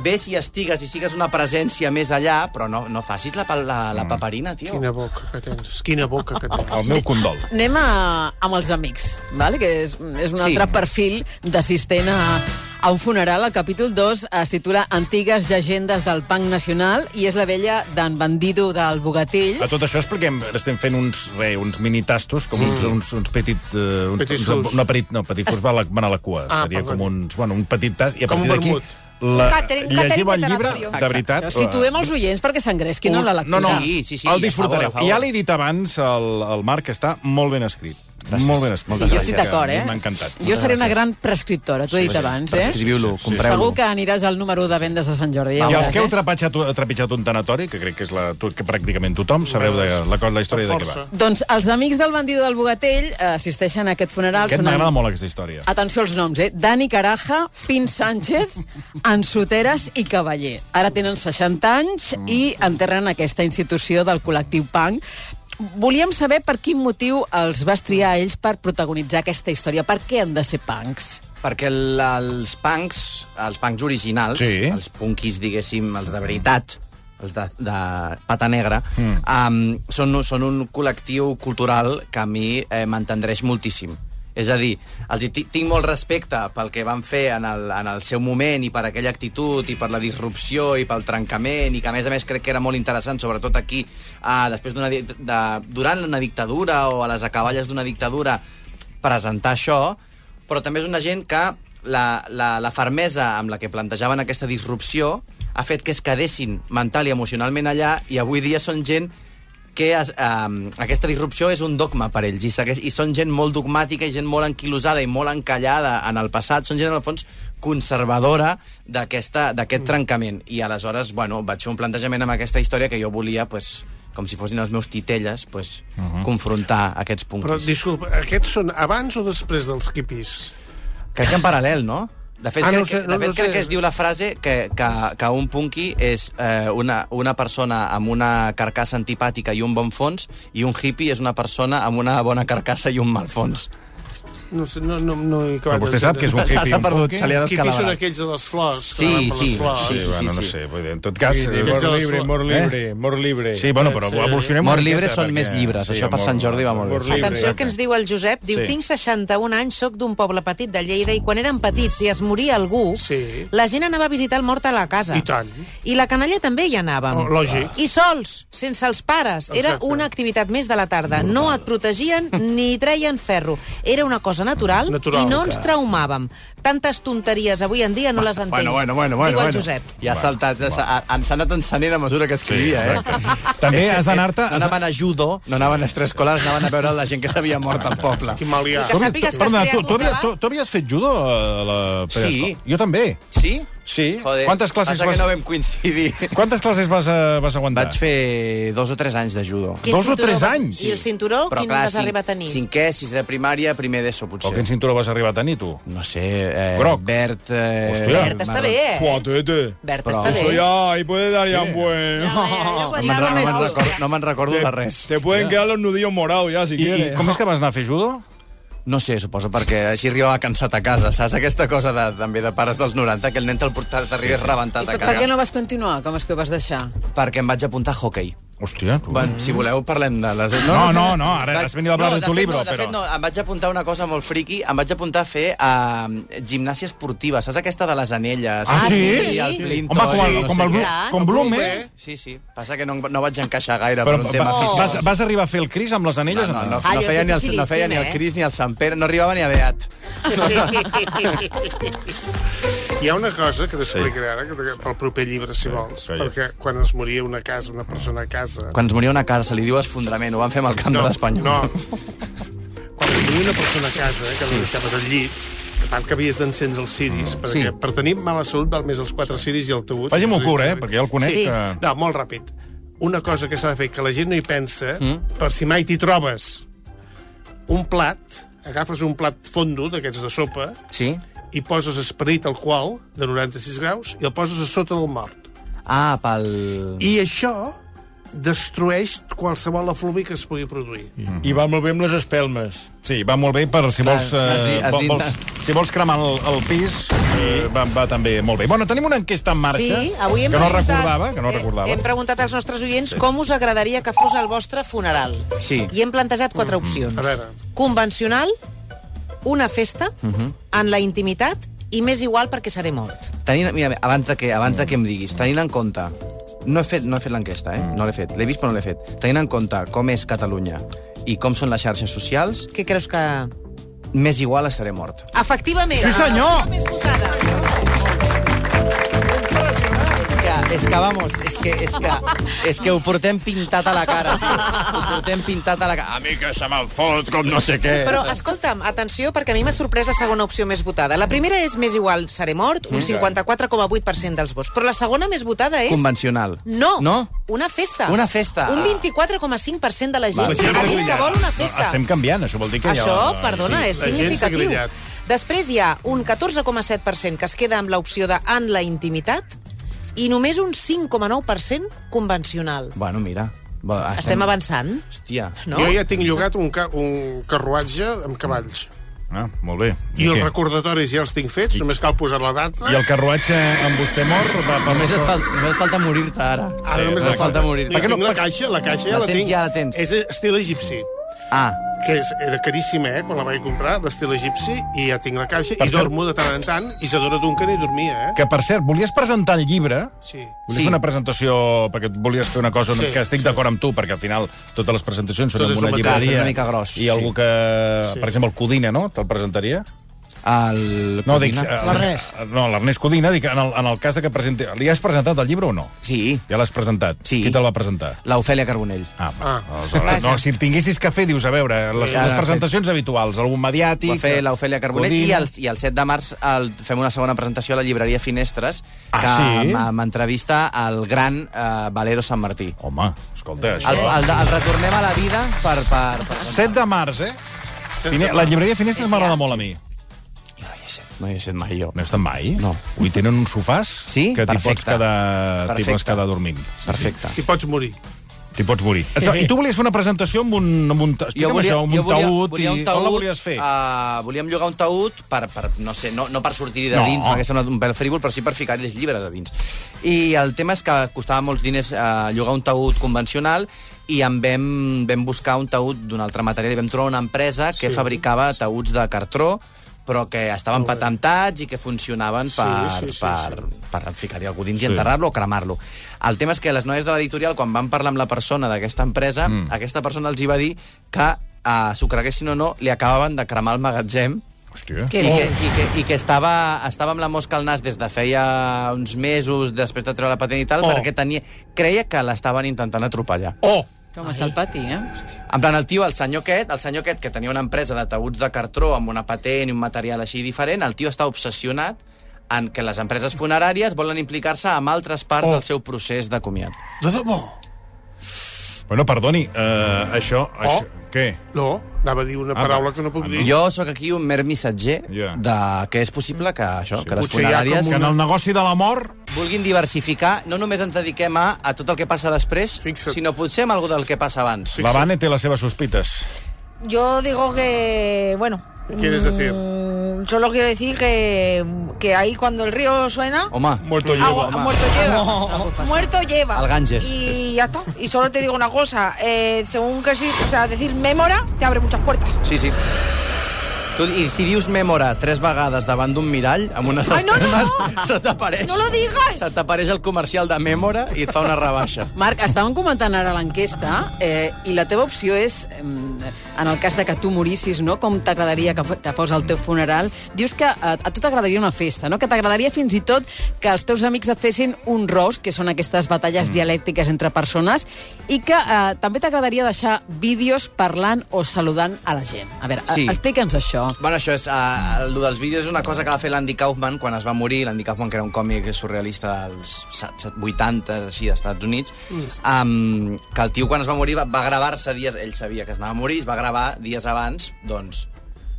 [SPEAKER 3] Ves i estigues i sigues una presència més allà, però no, no facis la, pa- la,
[SPEAKER 1] Mm.
[SPEAKER 3] la paperina, tio.
[SPEAKER 2] Quina boca que tens, quina boca que tens.
[SPEAKER 1] El meu condol.
[SPEAKER 7] Anem a, amb els amics, vale? que és, és un
[SPEAKER 2] Sí.
[SPEAKER 7] altre perfil d'assistent a, a un funeral. El capítol 2 es titula Antigues llegendes del punk nacional i és la vella d'en Bandido del Bogatell.
[SPEAKER 1] A tot això expliquem, estem fent uns, re, uns mini-tastos, com
[SPEAKER 2] Sí.
[SPEAKER 1] uns, uns, uns petit... Uh, uns,
[SPEAKER 2] Petit
[SPEAKER 1] uns,
[SPEAKER 2] fus.
[SPEAKER 1] no, petit, no, petit fus va a la, van a la cua.
[SPEAKER 2] Ah,
[SPEAKER 1] Seria
[SPEAKER 2] perdó.
[SPEAKER 1] com uns, bueno, un petit tast, i a
[SPEAKER 2] Com un
[SPEAKER 1] partir d'aquí...
[SPEAKER 2] vermut.
[SPEAKER 1] La,
[SPEAKER 7] Catering-
[SPEAKER 1] llegiu el
[SPEAKER 7] catering
[SPEAKER 1] llibre,
[SPEAKER 7] literario.
[SPEAKER 1] de veritat.
[SPEAKER 7] Situem els oients perquè s'engresquin en la lectura.
[SPEAKER 1] No, no, el disfrutareu. Ja l'he dit abans, el, el Marc està molt ben escrit. Gràcies. Molt ben escrit.
[SPEAKER 7] Sí, jo estic d'acord, eh?
[SPEAKER 1] M'ha encantat.
[SPEAKER 7] Jo seré una gran prescriptora, t'ho he dit abans, eh?
[SPEAKER 3] Prescriviu-lo,
[SPEAKER 7] Segur
[SPEAKER 3] compreu-lo.
[SPEAKER 7] que aniràs al número de vendes de Sant Jordi.
[SPEAKER 1] I els que heu
[SPEAKER 7] veuràs, eh?
[SPEAKER 1] trepitjat, trepitjat un tanatori, que crec que és la, tot- que pràcticament tothom, sabreu de, la, cosa- la història de què va.
[SPEAKER 7] Doncs els amics del bandido del Bogatell eh, assisteixen a aquest funeral.
[SPEAKER 1] Aquest
[SPEAKER 7] són en-
[SPEAKER 1] m'agrada molt, aquesta història.
[SPEAKER 7] Atenció als noms, eh? Dani Caraja, Pin Sánchez, Ansoteres i Cavaller. Ara tenen 60 anys
[SPEAKER 1] Mm.
[SPEAKER 7] i enterren aquesta institució del col·lectiu punk. Volíem saber per quin motiu els vas triar a ells per protagonitzar aquesta història. Per què han de ser punks?
[SPEAKER 3] Perquè el- els punks, els punks originals, sí. els punkis, diguéssim, els de veritat, els de, de pata negra, mm. um, són, són un col·lectiu cultural que a mi eh, m'entendreix moltíssim. És a dir, els hi ti- tinc molt respecte pel que van fer en el, en el seu moment i per aquella actitud i per la disrupció i pel trencament i que, a més a més, crec que era molt interessant, sobretot aquí, uh, després d'una... di- De, durant una dictadura o a les acaballes d'una dictadura, presentar això, però també és una gent que la, la, la fermesa amb la que plantejaven aquesta disrupció ha fet que es quedessin mental i emocionalment allà i avui dia són gent que es, eh, aquesta disrupció és un dogma per ells i, segueix, i són gent molt dogmàtica i gent molt anquilosada i molt encallada en el passat, són gent en el fons conservadora d'aquesta- d'aquest trencament i aleshores bueno, vaig fer un plantejament amb aquesta història que jo volia pues, com si fossin els meus titelles pues, uh -huh. confrontar aquests punts
[SPEAKER 2] Però, disculpa, aquests són abans o després dels quipis?
[SPEAKER 3] Crec que en paral·lel, no? De fet,
[SPEAKER 2] Ah,
[SPEAKER 3] ah,
[SPEAKER 2] no
[SPEAKER 3] crec,
[SPEAKER 2] ho sé,
[SPEAKER 3] que,
[SPEAKER 2] no-
[SPEAKER 3] de fet
[SPEAKER 2] no ho
[SPEAKER 3] crec
[SPEAKER 2] sé.
[SPEAKER 3] que es diu la frase que, que, que un punky és eh, una, una persona amb una carcassa antipàtica i un bon fons i un hippie és una persona amb una bona carcassa i un mal fons.
[SPEAKER 2] No, sé, no, no, no he acabat
[SPEAKER 1] Però vostè sap que és un hippie,
[SPEAKER 3] S'ha
[SPEAKER 1] un
[SPEAKER 3] perdut,
[SPEAKER 1] punky?
[SPEAKER 3] se li ha
[SPEAKER 2] Quipis
[SPEAKER 3] descalabrat.
[SPEAKER 2] són aquells de les flors, que
[SPEAKER 3] Sí,
[SPEAKER 2] van per
[SPEAKER 3] sí,
[SPEAKER 2] les
[SPEAKER 7] Ah,
[SPEAKER 2] flors.
[SPEAKER 1] Sí,
[SPEAKER 3] sí,
[SPEAKER 1] bueno,
[SPEAKER 3] sí,
[SPEAKER 1] no
[SPEAKER 3] sí.
[SPEAKER 1] sé, vull dir, en tot cas...
[SPEAKER 9] Vull dir,
[SPEAKER 1] eh,
[SPEAKER 9] mort
[SPEAKER 1] eh,
[SPEAKER 9] libre, mort libre, mort libre.
[SPEAKER 1] Sí, bueno, però
[SPEAKER 2] Sí.
[SPEAKER 1] evolucionem...
[SPEAKER 3] Mort
[SPEAKER 1] una
[SPEAKER 3] libre
[SPEAKER 1] miqueta,
[SPEAKER 3] són més llibres, això per Sant Jordi va molt bé.
[SPEAKER 1] mort libre.
[SPEAKER 4] Atenció al que ens diu el Josep. Diu,
[SPEAKER 1] Sí.
[SPEAKER 4] sí. tinc 61 anys, sóc d'un poble petit de Lleida i quan érem petits i es moria algú,
[SPEAKER 2] Sí.
[SPEAKER 4] la gent anava a visitar el mort a la casa.
[SPEAKER 2] I tant.
[SPEAKER 4] I la canalla també hi anàvem.
[SPEAKER 2] Oh, lògic.
[SPEAKER 4] I sols, sense els pares. Era
[SPEAKER 2] Exacte.
[SPEAKER 4] una activitat més de la tarda. No et protegien ni treien ferro. Era una cosa natural,
[SPEAKER 2] Natural,
[SPEAKER 4] i no ens
[SPEAKER 2] clar.
[SPEAKER 4] traumàvem. Tantes tonteries avui en dia no les entenc.
[SPEAKER 3] Bueno, bueno, bueno, bueno.
[SPEAKER 4] Diu el
[SPEAKER 3] bueno.
[SPEAKER 4] Josep.
[SPEAKER 3] Ja ha saltat, s'ha han- s'ha anat encenent a mesura que escrivia,
[SPEAKER 1] Sí,
[SPEAKER 3] <laughs> eh?
[SPEAKER 1] També has d'anar-te-
[SPEAKER 3] No anaven a judo, no anaven a extraescolars, anaven a veure la gent que s'havia mort al poble.
[SPEAKER 2] Quin mal hi ha.
[SPEAKER 4] I que sàpigues que has
[SPEAKER 1] Perdona,
[SPEAKER 4] creat
[SPEAKER 1] tu,
[SPEAKER 4] un
[SPEAKER 1] tu, havies,
[SPEAKER 4] debat.
[SPEAKER 1] tu, tu havies fet judo a la
[SPEAKER 3] Sí.
[SPEAKER 1] Jo també.
[SPEAKER 3] Sí?
[SPEAKER 1] Sí.
[SPEAKER 3] Joder,
[SPEAKER 1] Quantes classes
[SPEAKER 3] passa
[SPEAKER 1] vas-
[SPEAKER 3] que no vam coincidir.
[SPEAKER 1] Quantes classes vas, eh, vas aguantar?
[SPEAKER 3] Vaig fer dos o tres anys de judo.
[SPEAKER 4] I el
[SPEAKER 1] Dos o
[SPEAKER 4] cinturó
[SPEAKER 1] tres
[SPEAKER 4] vas-
[SPEAKER 1] anys?
[SPEAKER 4] I el cinturó, quin vas
[SPEAKER 3] cinc-
[SPEAKER 4] arribar a tenir?
[SPEAKER 3] Cinquè, sisè de primària, primer d'ESO,
[SPEAKER 1] O
[SPEAKER 3] potser.
[SPEAKER 1] quin cinturó vas arribar a tenir, tu?
[SPEAKER 3] No sé, eh,
[SPEAKER 1] Groc.
[SPEAKER 3] verd... Eh,
[SPEAKER 1] Hòstia.
[SPEAKER 4] Verd està bé, eh?
[SPEAKER 9] Fuatete.
[SPEAKER 4] Verd
[SPEAKER 3] Però-
[SPEAKER 4] està bé.
[SPEAKER 9] ya, ahí puede dar ya un buen...
[SPEAKER 4] Ja, ja, ja ho
[SPEAKER 3] No me'n re- no me'n
[SPEAKER 4] anàvem a
[SPEAKER 3] recordo, no me'n recordo de res.
[SPEAKER 9] Te pueden quedar los nudillos morados ya, si
[SPEAKER 1] I, I
[SPEAKER 9] quieres.
[SPEAKER 1] com és que vas anar a fer judo?
[SPEAKER 3] No sé, suposo perquè així arribava cansat a casa, saps? Aquesta cosa de, també de pares dels 90, que el nen te'l portat, t'arribes sí, sí. rebentat a
[SPEAKER 7] Per,
[SPEAKER 3] casa.
[SPEAKER 7] per què no vas continuar? Com és que ho vas deixar?
[SPEAKER 1] <laughs>
[SPEAKER 3] Perquè em vaig apuntar a hockey.
[SPEAKER 1] Hòstia, tu...
[SPEAKER 3] Bueno, si voleu, parlem de les...
[SPEAKER 1] Uh. No, no, no, ara has venido a hablar de
[SPEAKER 3] de
[SPEAKER 1] tu
[SPEAKER 3] fet,
[SPEAKER 1] libro,
[SPEAKER 3] no, de
[SPEAKER 1] però-
[SPEAKER 3] Fet, no, em vaig apuntar a una cosa molt friqui, em vaig apuntar a fer eh, gimnàsia esportiva, saps aquesta de les anelles?
[SPEAKER 1] Ah, sí?
[SPEAKER 3] I el plinto,
[SPEAKER 1] Home, com, el,
[SPEAKER 3] i no
[SPEAKER 1] com,
[SPEAKER 3] sé
[SPEAKER 1] el, Blu-
[SPEAKER 3] què.
[SPEAKER 4] què.
[SPEAKER 1] com Bloom, eh?
[SPEAKER 3] Sí, sí, passa que no, no vaig encaixar gaire
[SPEAKER 1] Però
[SPEAKER 3] per un tema
[SPEAKER 1] va,
[SPEAKER 3] físic.
[SPEAKER 1] vas, vas arribar a fer el Cris amb les
[SPEAKER 3] No,
[SPEAKER 1] anelles?
[SPEAKER 3] no, no, no,
[SPEAKER 4] Ah, jo
[SPEAKER 3] feia, ni el, no
[SPEAKER 4] dificilíssim,
[SPEAKER 3] feia ni el
[SPEAKER 4] eh?
[SPEAKER 3] Cris ni el Sant Pere, no arribava ni a Beat.
[SPEAKER 2] Hi ha una cosa que t'explicaré ara, que te- pel proper llibre, si vols,
[SPEAKER 1] calla.
[SPEAKER 2] perquè quan es moria una casa, una persona a casa...
[SPEAKER 3] Quan es moria una casa, se li diu esfondrament, ho van fer amb el camp de l'Espanyol.
[SPEAKER 2] No.
[SPEAKER 1] <laughs>
[SPEAKER 2] Quan es moria una persona a casa, que sí. la deixaves al llit, que a part que havies d'encendre els ciris, mm. perquè
[SPEAKER 3] Sí.
[SPEAKER 2] per tenir mala salut val més els quatre ciris i el taüt.
[SPEAKER 1] Faci-m'ho curt, eh, perquè jo el conec,
[SPEAKER 2] Sí.
[SPEAKER 1] que-
[SPEAKER 2] No, molt ràpid. Una cosa que s'ha de fer, que la gent no hi pensa, mm. per si mai t'hi trobes. Un plat, agafes un plat fondo d'aquests de sopa,
[SPEAKER 3] Sí?
[SPEAKER 2] i poses esperit al qual,
[SPEAKER 1] Mm.
[SPEAKER 2] de 96 graus, i el poses a sota del mort.
[SPEAKER 3] Ah, pel...
[SPEAKER 2] I això destrueix qualsevol efluvi que es pugui produir.
[SPEAKER 9] Mhm. I va molt bé amb les espelmes.
[SPEAKER 1] Sí, va molt bé per si
[SPEAKER 9] Clar,
[SPEAKER 1] vols,
[SPEAKER 9] has dit-
[SPEAKER 1] eh,
[SPEAKER 9] has
[SPEAKER 1] vol-
[SPEAKER 9] dit-
[SPEAKER 1] vols, si vols cremar el, el pis, eh, va, va també molt bé. Bueno, tenim una enquesta en marxa
[SPEAKER 4] Sí, avui hem
[SPEAKER 1] que no
[SPEAKER 4] preguntat-
[SPEAKER 1] recordava, que no
[SPEAKER 4] eh,
[SPEAKER 1] recordava.
[SPEAKER 4] Hem preguntat als nostres oients com us agradaria que fos el vostre funeral.
[SPEAKER 1] Sí. Mm-hmm.
[SPEAKER 4] I hem plantejat quatre opcions.
[SPEAKER 1] A veure.
[SPEAKER 4] Convencional, una festa,
[SPEAKER 1] Mm-hmm.
[SPEAKER 4] en la intimitat i més igual perquè seré mort.
[SPEAKER 3] Tenint, mira, abans de que, abans de que em diguis, tenint en compte... No he fet, no he fet l'enquesta, eh? No l'he fet. L'he vist, però no l'he fet. Tenint en compte com és Catalunya i com són les xarxes socials,
[SPEAKER 4] Què creus que...
[SPEAKER 3] més igual estaré mort.
[SPEAKER 4] Efectivament.
[SPEAKER 3] Sí, senyor!
[SPEAKER 4] Ah, més posada.
[SPEAKER 3] És que, vamos, és que, és que, és que ho portem pintat a la cara. Ho portem pintat a la cara. A mi que se me'n fot com no sé què.
[SPEAKER 4] Però, Ah, escolta'm, atenció, perquè a mi m'ha sorprès la segona opció més votada. La primera és més igual seré mort, un
[SPEAKER 3] Mm.
[SPEAKER 4] 54,8% dels vots. Però la segona més votada és...
[SPEAKER 3] Convencional.
[SPEAKER 4] No.
[SPEAKER 3] No?
[SPEAKER 4] Una festa.
[SPEAKER 3] Una festa.
[SPEAKER 4] Un 24,5% de la gent
[SPEAKER 1] Vale.
[SPEAKER 4] ha dit que vol una festa.
[SPEAKER 1] No, estem canviant, això vol dir que
[SPEAKER 4] Això,
[SPEAKER 1] ja...
[SPEAKER 4] perdona, és significatiu. Després hi ha un 14,7% que es queda amb l'opció de en la intimitat i només un 5,9% convencional.
[SPEAKER 3] Bueno, mira. Va,
[SPEAKER 4] Estem, avançant.
[SPEAKER 3] Hòstia.
[SPEAKER 4] No?
[SPEAKER 2] Jo ja tinc llogat un, ca un carruatge amb cavalls.
[SPEAKER 1] Ah, molt bé.
[SPEAKER 2] I, els
[SPEAKER 1] què?
[SPEAKER 2] recordatoris ja els tinc fets, només cal posar la data.
[SPEAKER 1] I el carruatge amb vostè mort va per...
[SPEAKER 3] Només et, fal, només et falta morir-te ara.
[SPEAKER 2] Ara només
[SPEAKER 3] et falta morir.
[SPEAKER 2] Jo tinc la caixa, la caixa ja
[SPEAKER 3] La
[SPEAKER 2] la,
[SPEAKER 3] tens,
[SPEAKER 2] tinc.
[SPEAKER 3] ja la tens.
[SPEAKER 2] És estil egipci.
[SPEAKER 3] Ah.
[SPEAKER 2] Que és, era caríssima, eh, quan la vaig comprar, l'estil egipci, i ja tinc la caixa,
[SPEAKER 1] Per
[SPEAKER 2] i
[SPEAKER 1] cert-
[SPEAKER 2] dormo de tant en tant, i Isadora Duncan hi dormia, eh?
[SPEAKER 1] Que, per cert, volies presentar el llibre...
[SPEAKER 2] Sí.
[SPEAKER 1] Volies sí. fer una presentació, perquè et volies fer una cosa sí,
[SPEAKER 2] Sí,
[SPEAKER 1] que estic sí. d'acord amb tu, perquè al final totes les presentacions són
[SPEAKER 3] Tot és
[SPEAKER 1] amb una
[SPEAKER 3] un metall,
[SPEAKER 1] llibreria.
[SPEAKER 3] una mica gros,
[SPEAKER 1] I algú
[SPEAKER 3] sí.
[SPEAKER 1] que,
[SPEAKER 3] Sí.
[SPEAKER 1] per exemple, el Codina, no? Te'l presentaria?
[SPEAKER 3] El...
[SPEAKER 1] No, dic...
[SPEAKER 3] Codina?
[SPEAKER 1] eh,
[SPEAKER 3] L'Ernest.
[SPEAKER 1] No, l'Ernest Codina. Dic, en el, en el cas de que presenti... Li has presentat el llibre o no?
[SPEAKER 3] Sí.
[SPEAKER 1] Ja l'has presentat? Sí. Qui te'l va presentar?
[SPEAKER 3] L'Ofèlia Carbonell.
[SPEAKER 1] Ah,
[SPEAKER 2] ah.
[SPEAKER 1] Aleshores, no, si tinguessis que fer, dius, a veure, les,
[SPEAKER 3] Ja,
[SPEAKER 1] les
[SPEAKER 3] ja,
[SPEAKER 1] presentacions habituals, algun mediàtic...
[SPEAKER 3] Va fer l'Ofèlia Carbonell i el, i el 7 de març el, fem una segona presentació a la llibreria Finestres que
[SPEAKER 1] Ah, sí?
[SPEAKER 3] m- m'entrevista al gran eh, Valero Sant Martí.
[SPEAKER 1] Home, escolta, això...
[SPEAKER 3] El, el, el retornem a la vida per... per, per
[SPEAKER 1] 7 de març, eh? Fine... La llibreria Finestres m'agrada molt a mi.
[SPEAKER 3] No hi he estat mai, jo.
[SPEAKER 1] No he estat mai? No. Ui, tenen uns sofàs
[SPEAKER 3] sí?
[SPEAKER 1] que t'hi pots
[SPEAKER 3] Perfecte.
[SPEAKER 1] quedar, t'hi pots
[SPEAKER 3] Perfecte.
[SPEAKER 1] quedar dormint.
[SPEAKER 3] Perfecte.
[SPEAKER 2] I pots morir.
[SPEAKER 1] T'hi pots morir. Això, I tu volies fer una presentació amb un... Amb un ta- Explica'm això, amb un taüt...
[SPEAKER 3] volia un
[SPEAKER 1] i-
[SPEAKER 3] taüt
[SPEAKER 1] On la volies fer?
[SPEAKER 3] Uh, volíem llogar un taüt per, per no sé, no, no per sortir-hi de
[SPEAKER 1] No.
[SPEAKER 3] no. dins, perquè sembla un pèl frívol, però sí per ficar-hi els llibres a dins. I el tema és que costava molts diners uh, llogar un taüt convencional i en vam, vam buscar un taüt d'un altre material i vam trobar una empresa que
[SPEAKER 2] Sí.
[SPEAKER 3] sí. fabricava taüts de cartró però que estaven patentats i que funcionaven per, sí, sí, sí, per, per ficar-hi algú dins
[SPEAKER 1] Sí.
[SPEAKER 3] i enterrar-lo o cremarlo. El tema és que les noies de l'editorial, quan van parlar amb la persona d'aquesta empresa,
[SPEAKER 1] Mm.
[SPEAKER 3] mm. aquesta persona els hi va dir que, eh, s'ho creguessin o no, li acabaven de cremar el magatzem
[SPEAKER 1] Hòstia.
[SPEAKER 3] i que, i que, i que estava, estava amb la mosca al nas des de feia uns mesos després de treure la patent i tal,
[SPEAKER 7] Oh.
[SPEAKER 3] oh. perquè tenia, creia que l'estaven intentant atropellar.
[SPEAKER 1] Oh!
[SPEAKER 7] Com està el pati, eh?
[SPEAKER 3] En plan, el tio, el senyor aquest, el senyor aquest que tenia una empresa de taüts de cartró amb una patent i un material així diferent, el tio està obsessionat en que les empreses funeràries volen implicar-se amb altres parts oh. del seu procés de comiat.
[SPEAKER 2] De debò?
[SPEAKER 1] Bueno, perdoni, eh, això...
[SPEAKER 3] Oh.
[SPEAKER 1] això Què?
[SPEAKER 2] No, anava a dir una
[SPEAKER 1] Ah,
[SPEAKER 2] paraula
[SPEAKER 1] va.
[SPEAKER 2] que no puc
[SPEAKER 1] Ah,
[SPEAKER 2] dir.
[SPEAKER 3] Jo sóc aquí un mer missatger
[SPEAKER 1] Ja.
[SPEAKER 3] yeah. de que és possible que això, sí. que les
[SPEAKER 2] Potser hi ha
[SPEAKER 3] funeràries...
[SPEAKER 2] com
[SPEAKER 1] Que en el negoci de la mort...
[SPEAKER 3] vulguin diversificar, no només ens dediquem a, a tot el que passa després, Fixa't. sinó potser amb algú del que passa abans.
[SPEAKER 1] La Vane té les seves sospites.
[SPEAKER 5] Yo digo que, bueno...
[SPEAKER 1] ¿Qué quieres decir?
[SPEAKER 5] mm, Solo quiero decir que, que ahí cuando el río suena...
[SPEAKER 3] Home,
[SPEAKER 9] Muerto
[SPEAKER 1] Ah,
[SPEAKER 5] agua- muerto lleva. Muerto lleva.
[SPEAKER 3] Al Ganges.
[SPEAKER 5] Y ya está. Y solo te digo una cosa. eh, según que sí, o sea, decir memora te abre muchas puertas.
[SPEAKER 3] Sí, sí. Tu, I si dius memora tres vegades davant d'un mirall, amb unes
[SPEAKER 5] Ai, no, no,
[SPEAKER 3] espelmes, <laughs> se t'apareix...
[SPEAKER 5] No lo digas.
[SPEAKER 3] Se t'apareix el comercial de memora i et fa una rebaixa.
[SPEAKER 7] Marc, estàvem comentant ara l'enquesta eh, i la teva opció és, em, en el cas de que tu morissis, no? com t'agradaria que, fo- que fos el teu funeral, dius que a, a tu t'agradaria una festa, no? que t'agradaria fins i tot que els teus amics et fessin un roast, que són aquestes batalles mm. dialèctiques entre persones, i que eh, també t'agradaria deixar vídeos parlant o saludant a la gent. A veure, sí.
[SPEAKER 3] Sí.
[SPEAKER 7] explica'ns això.
[SPEAKER 3] Bueno, això és... Uh, el dels vídeos és una cosa que va fer l'Andy Kaufman quan es va morir. L'Andy Kaufman, que era un còmic surrealista als set- set- 80, així, als Estats Units,
[SPEAKER 5] Mm.
[SPEAKER 3] um, que el tio, quan es va morir, va, va gravar-se dies... Ell sabia que es anava a morir, es va gravar dies abans, doncs,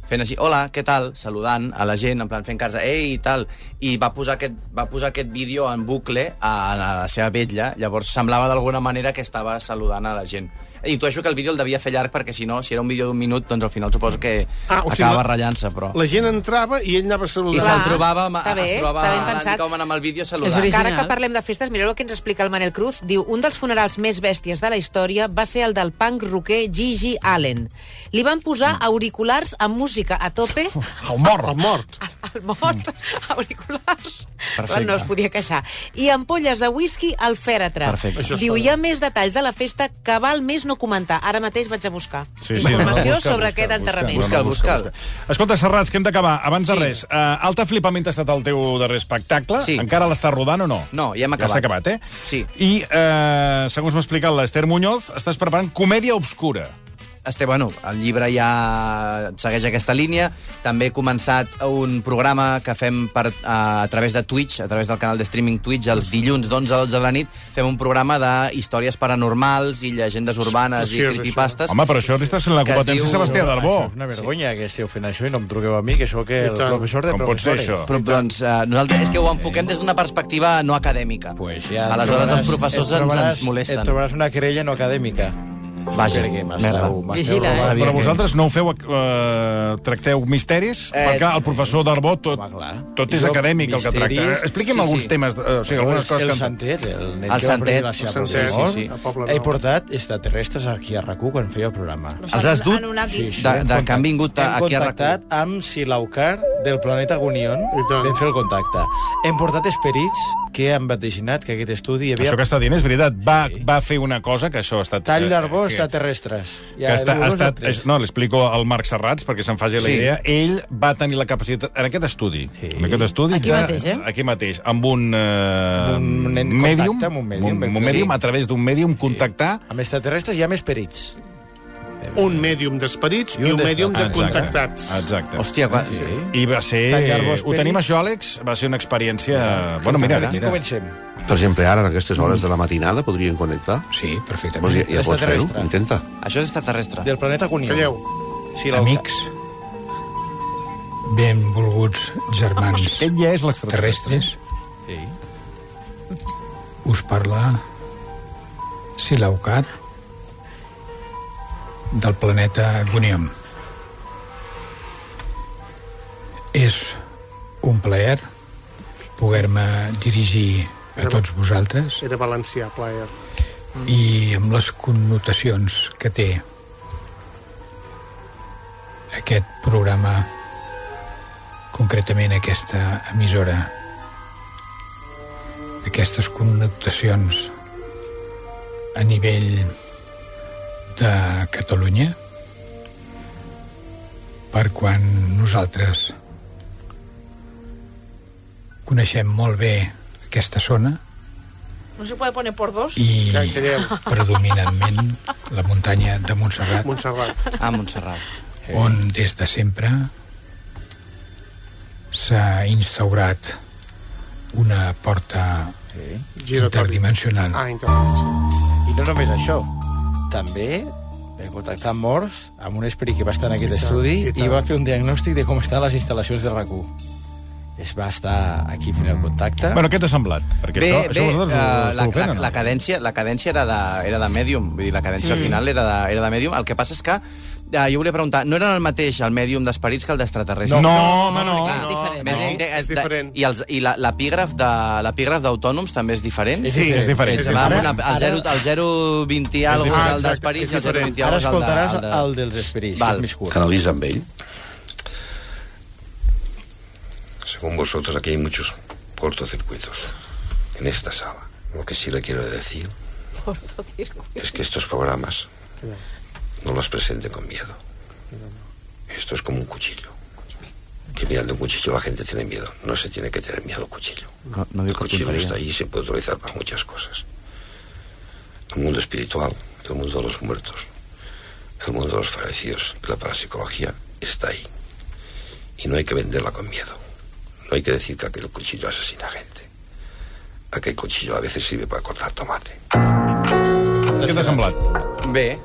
[SPEAKER 3] fent així, hola, què tal? Saludant a la gent, en plan fent casa, ei, i tal. I va posar aquest, va posar aquest vídeo en bucle a, a la seva vetlla, llavors semblava d'alguna manera que estava saludant a la gent. I tu això que el vídeo el devia fer llarg perquè si no, si era un vídeo d'un minut, doncs al final suposo que
[SPEAKER 2] Ah,
[SPEAKER 3] ah,
[SPEAKER 2] o sigui,
[SPEAKER 3] acabava
[SPEAKER 2] la-
[SPEAKER 3] ratllant-se, però...
[SPEAKER 2] La gent entrava i ell anava saludant.
[SPEAKER 3] I se'l trobava, ma-
[SPEAKER 4] Està bé,
[SPEAKER 3] es trobava
[SPEAKER 4] està ben
[SPEAKER 3] l'Andy
[SPEAKER 4] pensat.
[SPEAKER 3] Kaufman amb el vídeo saludant.
[SPEAKER 4] Encara que parlem de festes, mireu el que ens explica el Manel Cruz. Diu, un dels funerals més bèsties de la història va ser el del punk rocker Gigi Allen. Li van posar
[SPEAKER 1] Mm.
[SPEAKER 4] auriculars amb música a tope,
[SPEAKER 1] El mort.
[SPEAKER 2] El mort.
[SPEAKER 4] <laughs> al mort,
[SPEAKER 1] Mm.
[SPEAKER 4] auriculars,
[SPEAKER 3] Perfecte.
[SPEAKER 4] no es podia queixar, i ampolles de whisky al fèretre.
[SPEAKER 3] Perfecte. Això està
[SPEAKER 4] Diu,
[SPEAKER 3] bé.
[SPEAKER 4] hi ha més detalls de la festa que val més no comentar. Ara mateix vaig a buscar
[SPEAKER 1] Sí, sí,
[SPEAKER 4] informació
[SPEAKER 1] no, busca, busca,
[SPEAKER 4] sobre aquest
[SPEAKER 1] busca,
[SPEAKER 4] enterrament.
[SPEAKER 3] Busca'l, busca'l.
[SPEAKER 1] Escolta, Serrats, que hem d'acabar. Abans de res, uh, Alta Flipament ha estat el teu darrer espectacle.
[SPEAKER 3] Sí.
[SPEAKER 1] Encara l'estàs rodant o no?
[SPEAKER 3] No, ja hem
[SPEAKER 1] Ja
[SPEAKER 3] acabat.
[SPEAKER 1] s'ha acabat, eh?
[SPEAKER 3] Sí.
[SPEAKER 1] I, uh, segons m'ha explicat l'Ester Muñoz, estàs preparant Comèdia Obscura.
[SPEAKER 3] Este, bueno, el llibre ja segueix aquesta línia. També he començat un programa que fem per, a, a través de Twitch, a través del canal de streaming Twitch, els dilluns d'11 a 12 de la nit. Fem un programa de històries paranormals i llegendes urbanes
[SPEAKER 2] Preciós,
[SPEAKER 3] i
[SPEAKER 2] això.
[SPEAKER 3] creepypastes.
[SPEAKER 1] Home, però això li estàs fent la
[SPEAKER 3] Que es
[SPEAKER 1] competència
[SPEAKER 3] diu-
[SPEAKER 1] a Sebastià Darbó.
[SPEAKER 9] Això és una vergonya que esteu fent això i no em truqueu a mi, que sóc el
[SPEAKER 2] I tant.
[SPEAKER 9] professor de
[SPEAKER 1] Com pot ser
[SPEAKER 9] professores.
[SPEAKER 1] això?
[SPEAKER 3] Però, doncs, eh, nosaltres és que ho enfoquem des d'una perspectiva no acadèmica.
[SPEAKER 9] Pues ja
[SPEAKER 3] Aleshores,
[SPEAKER 9] trobaràs-
[SPEAKER 3] els professors
[SPEAKER 9] et
[SPEAKER 3] ens,
[SPEAKER 9] trobaràs-
[SPEAKER 3] ens molesten.
[SPEAKER 9] Et trobaràs una querella no acadèmica.
[SPEAKER 3] Vaja,
[SPEAKER 9] Perquè m'esteu-
[SPEAKER 3] merda.
[SPEAKER 9] m'esteu
[SPEAKER 7] Vigila, eh?
[SPEAKER 9] robant.
[SPEAKER 1] Però
[SPEAKER 9] que-
[SPEAKER 1] vosaltres no ho feu, eh, tracteu misteris, eh,
[SPEAKER 3] Eh,
[SPEAKER 1] perquè clar, el professor Darbó tot,
[SPEAKER 9] home, clar.
[SPEAKER 1] tot és
[SPEAKER 9] Jo,
[SPEAKER 1] acadèmic el que
[SPEAKER 9] misteris-
[SPEAKER 1] tracta. Expliqui'm
[SPEAKER 3] Sí, sí.
[SPEAKER 1] alguns temes, eh, o sigui, algunes coses
[SPEAKER 9] el
[SPEAKER 1] que...
[SPEAKER 9] Santet, el nen
[SPEAKER 3] El
[SPEAKER 9] que va
[SPEAKER 3] Santet.
[SPEAKER 9] predir la seva
[SPEAKER 2] El Santet,
[SPEAKER 9] professió.
[SPEAKER 3] sí, sí.
[SPEAKER 2] A Poble
[SPEAKER 9] He
[SPEAKER 2] Nou.
[SPEAKER 9] portat extraterrestres aquí a RAC1 quan feia el programa.
[SPEAKER 3] Els has dut
[SPEAKER 5] Anunnaki.
[SPEAKER 3] de- de que han vingut a- aquí a
[SPEAKER 9] Hem
[SPEAKER 3] RAC1.
[SPEAKER 9] contactat amb Silaucar del planeta Gunion.
[SPEAKER 2] I tant.
[SPEAKER 9] Vam fer el contacte. Hem portat esperits que han vaticinat que aquest estudi hi havia
[SPEAKER 1] Això que està dient és veritat. Va, va fer una cosa que això ha estat... eh,
[SPEAKER 9] tall d'arbó
[SPEAKER 1] que-
[SPEAKER 9] extraterrestres.
[SPEAKER 1] que està, ha estat, és,
[SPEAKER 9] no.
[SPEAKER 1] no, l'explico al Marc Serrats perquè se'n faci la
[SPEAKER 3] Sí.
[SPEAKER 1] idea. Ell va tenir la capacitat, en aquest estudi,
[SPEAKER 9] Sí.
[SPEAKER 1] en aquest estudi
[SPEAKER 7] Aquí
[SPEAKER 1] de-
[SPEAKER 7] mateix, eh?
[SPEAKER 1] aquí mateix amb un, eh,
[SPEAKER 9] Amb un nen-
[SPEAKER 1] mèdium,
[SPEAKER 9] contacte amb un mèdium,
[SPEAKER 1] un,
[SPEAKER 9] vam
[SPEAKER 1] un
[SPEAKER 9] fer.
[SPEAKER 1] mèdium
[SPEAKER 9] Sí.
[SPEAKER 1] a través d'un mèdium contactar
[SPEAKER 9] Amb extraterrestres i amb esperits.
[SPEAKER 2] Un mèdium d'esperits i un
[SPEAKER 9] de-
[SPEAKER 2] mèdium de
[SPEAKER 1] Ah, Exacte.
[SPEAKER 2] contactats.
[SPEAKER 1] Exacte.
[SPEAKER 3] Hòstia, quan... sí.
[SPEAKER 1] I va
[SPEAKER 9] Tall
[SPEAKER 1] ser...
[SPEAKER 9] d'arbó
[SPEAKER 1] Ho
[SPEAKER 9] esperits.
[SPEAKER 1] tenim això, Àlex? Va ser una experiència... Bueno, mira,
[SPEAKER 9] Aquí
[SPEAKER 1] mira.
[SPEAKER 9] comencem.
[SPEAKER 12] Per exemple, ara, a aquestes hores de la matinada, podrien connectar?
[SPEAKER 11] Sí, perfectament.
[SPEAKER 12] Doncs ja, ja pots fer-ho,
[SPEAKER 9] Extraterrestre.
[SPEAKER 12] intenta.
[SPEAKER 3] Això és extraterrestre.
[SPEAKER 9] Del planeta Gunion.
[SPEAKER 2] Calleu.
[SPEAKER 9] Silaucar.
[SPEAKER 11] Amics, benvolguts germans
[SPEAKER 1] Ell ja és l'extraterrestre.
[SPEAKER 11] terrestres, us parla Silaucat del planeta Gunium. És un plaer poder-me dirigir a tots vosaltres
[SPEAKER 2] Era valencià, plaer.
[SPEAKER 11] i amb les connotacions que té aquest programa concretament aquesta emissora aquestes connotacions a nivell de Catalunya per quan nosaltres coneixem molt bé aquesta zona
[SPEAKER 5] No se puede poner por dos.
[SPEAKER 11] i
[SPEAKER 2] Ja, calleu.
[SPEAKER 11] predominantment la muntanya de Montserrat,
[SPEAKER 2] Montserrat.
[SPEAKER 3] Ah, Montserrat.
[SPEAKER 11] on des de sempre s'ha instaurat una porta
[SPEAKER 2] Giratori.
[SPEAKER 11] interdimensional.
[SPEAKER 2] Ah, interdimensional.
[SPEAKER 9] I no només això, també vam contactar amb morts amb un esperit que va estar en aquest
[SPEAKER 2] I tant,
[SPEAKER 9] estudi
[SPEAKER 2] i tant.
[SPEAKER 9] i va fer un diagnòstic de com estan les instal·lacions de RAC1. Es va estar aquí fent el contacte.
[SPEAKER 1] Bueno, què t'ha semblat? Perquè
[SPEAKER 3] Bé,
[SPEAKER 1] això,
[SPEAKER 3] bé,
[SPEAKER 1] això vosaltres ho,
[SPEAKER 3] eh, la,
[SPEAKER 1] esteu fent,
[SPEAKER 3] la,
[SPEAKER 1] o no?
[SPEAKER 3] la, cadència, la cadència era de, era de Medium, vull dir, la cadència
[SPEAKER 2] Mm.
[SPEAKER 3] al final era de, era de Medium. El que passa és que, eh, jo volia preguntar, no eren el mateix el Medium d'esperits que el d'extraterrestres?
[SPEAKER 1] No, home, no.
[SPEAKER 7] no. Diferent.
[SPEAKER 3] Més
[SPEAKER 2] Ah, no,
[SPEAKER 3] de-
[SPEAKER 2] és
[SPEAKER 3] de-
[SPEAKER 2] diferent.
[SPEAKER 3] I, els, i la- l'epígraf de l'epígraf d'autònoms també és diferent?
[SPEAKER 1] Sí, és diferent.
[SPEAKER 3] És,
[SPEAKER 1] És
[SPEAKER 3] va, amb
[SPEAKER 1] diferent.
[SPEAKER 3] una, el, 0, el 020 algo
[SPEAKER 2] diferent.
[SPEAKER 3] és el
[SPEAKER 2] Ah,
[SPEAKER 3] d'esperits
[SPEAKER 2] exacte,
[SPEAKER 3] i
[SPEAKER 2] és
[SPEAKER 3] el 020
[SPEAKER 9] Ara
[SPEAKER 3] algo és el de...
[SPEAKER 9] escoltaràs
[SPEAKER 3] El de...
[SPEAKER 9] el dels esperits, que
[SPEAKER 3] Val.
[SPEAKER 9] és més curt.
[SPEAKER 12] Canaliza amb ell. Según vosotros, aquí hay muchos cortocircuitos en esta sala. Lo que sí le quiero decir es que estos programas no los presenten con miedo. Esto es como un cuchillo. Que mirando un cuchillo la gente tiene miedo. No se tiene que tener miedo al cuchillo.
[SPEAKER 3] No, no
[SPEAKER 12] El
[SPEAKER 3] diu que
[SPEAKER 12] cuchillo está
[SPEAKER 3] tonteria.
[SPEAKER 12] ahí y se puede utilizar para muchas cosas. El mundo espiritual, el mundo de los muertos, el mundo de los fallecidos y la parapsicología está ahí. Y no hay que venderla con miedo. No hay que decir que aquel cuchillo asesina gente. Aquel cuchillo a veces sirve para cortar tomate.
[SPEAKER 1] Què t'ha semblat?
[SPEAKER 3] Bé,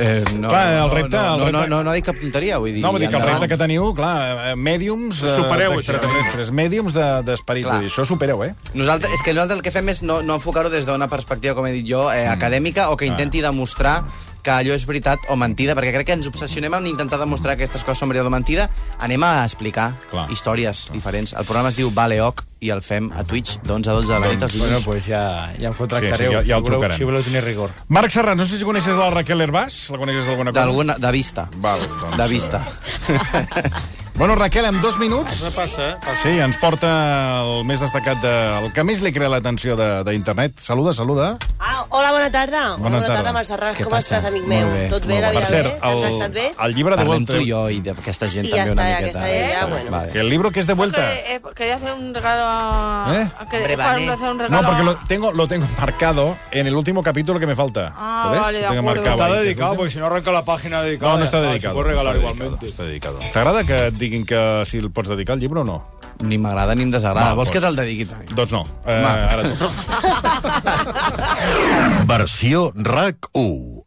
[SPEAKER 3] Eh, no,
[SPEAKER 1] Clar, el
[SPEAKER 3] no,
[SPEAKER 1] repte-
[SPEAKER 3] No,
[SPEAKER 1] el
[SPEAKER 3] no, no,
[SPEAKER 1] repte-
[SPEAKER 3] no, no, dic cap tonteria, vull dir...
[SPEAKER 1] No, vull dir que el
[SPEAKER 3] endavant.
[SPEAKER 1] repte que teniu, clar, eh, mediums eh,
[SPEAKER 3] Supereu això.
[SPEAKER 1] d'extraterrestres, mediums de- d'esperit,
[SPEAKER 3] Clar.
[SPEAKER 1] vull dir, això ho supereu, eh?
[SPEAKER 3] Nosaltres, és que nosaltres el que fem és no, no enfocar-ho des d'una perspectiva, com he dit jo,
[SPEAKER 1] Mm.
[SPEAKER 3] eh, acadèmica, o que intenti demostrar que allò és veritat o mentida, perquè crec que ens obsessionem en intentar demostrar que aquestes coses són veritat o mentida. Anem a explicar Clar. històries Clar. diferents. El programa es diu Vale Oc i el fem a Twitch d'11 a 12 de la nit.
[SPEAKER 9] Doncs, bueno, pues ja, ja em contractareu.
[SPEAKER 1] Sí, sí,
[SPEAKER 9] si,
[SPEAKER 1] ja- ja el
[SPEAKER 9] voleu,
[SPEAKER 1] trucarem.
[SPEAKER 9] si voleu tenir rigor.
[SPEAKER 1] Marc Serrat, no sé si coneixes la Raquel Herbàs, la coneixes d'alguna cosa?
[SPEAKER 3] D'alguna... De vista.
[SPEAKER 1] Val, doncs, eh,
[SPEAKER 3] De vista.
[SPEAKER 1] Bueno, Raquel, en dos minuts...
[SPEAKER 2] Passa, passa.
[SPEAKER 1] Sí, ens porta el més destacat, de, el que més li crea l'atenció de- d'internet. Saluda, saluda.
[SPEAKER 13] Ah, hola, bona tarda. Hola, bona tarda, tarda Montserrat.
[SPEAKER 1] Què
[SPEAKER 13] Com
[SPEAKER 1] passa?
[SPEAKER 13] estàs, amic meu? Tot bé, la
[SPEAKER 1] Per
[SPEAKER 13] vida
[SPEAKER 1] cert,
[SPEAKER 13] bé? Has
[SPEAKER 1] el,
[SPEAKER 13] estat bé?
[SPEAKER 1] el llibre de
[SPEAKER 3] Parlem
[SPEAKER 1] vuelta...
[SPEAKER 3] tu i jo i d'aquesta gent
[SPEAKER 13] I
[SPEAKER 3] també
[SPEAKER 13] ja està, ja que
[SPEAKER 3] una miqueta. eh?
[SPEAKER 13] està bé, ja, bueno.
[SPEAKER 1] Que el libro que es de vuelta...
[SPEAKER 5] Que, eh, quería hacer un regalo a...
[SPEAKER 1] ¿Eh?
[SPEAKER 5] a que-
[SPEAKER 1] Hombre,
[SPEAKER 5] para
[SPEAKER 1] vale.
[SPEAKER 5] hacer un
[SPEAKER 1] No,
[SPEAKER 5] regalo
[SPEAKER 1] porque
[SPEAKER 5] a-
[SPEAKER 1] lo tengo, lo tengo marcado en el último capítulo que me falta.
[SPEAKER 5] Ah,
[SPEAKER 1] ¿Lo ves?
[SPEAKER 5] vale,
[SPEAKER 1] Lo
[SPEAKER 5] de
[SPEAKER 1] tengo
[SPEAKER 5] acuerdo.
[SPEAKER 1] marcado
[SPEAKER 8] Está
[SPEAKER 1] ahí.
[SPEAKER 8] dedicado, porque si no arranca la página Ah, dedicada.
[SPEAKER 1] No, no está
[SPEAKER 8] ya
[SPEAKER 1] dedicado.
[SPEAKER 8] Se puede regalar
[SPEAKER 1] no está
[SPEAKER 8] igualmente.
[SPEAKER 1] dedicado, Está dedicado. T'agrada que et diguin que si el pots dedicar el llibre o no?
[SPEAKER 3] Ni m'agrada ni em desagrada. Vols que te'l
[SPEAKER 1] dediqui? Doncs no. Eh,
[SPEAKER 8] <laughs>
[SPEAKER 3] Va.
[SPEAKER 1] ara tu.
[SPEAKER 14] Versió RAC 1.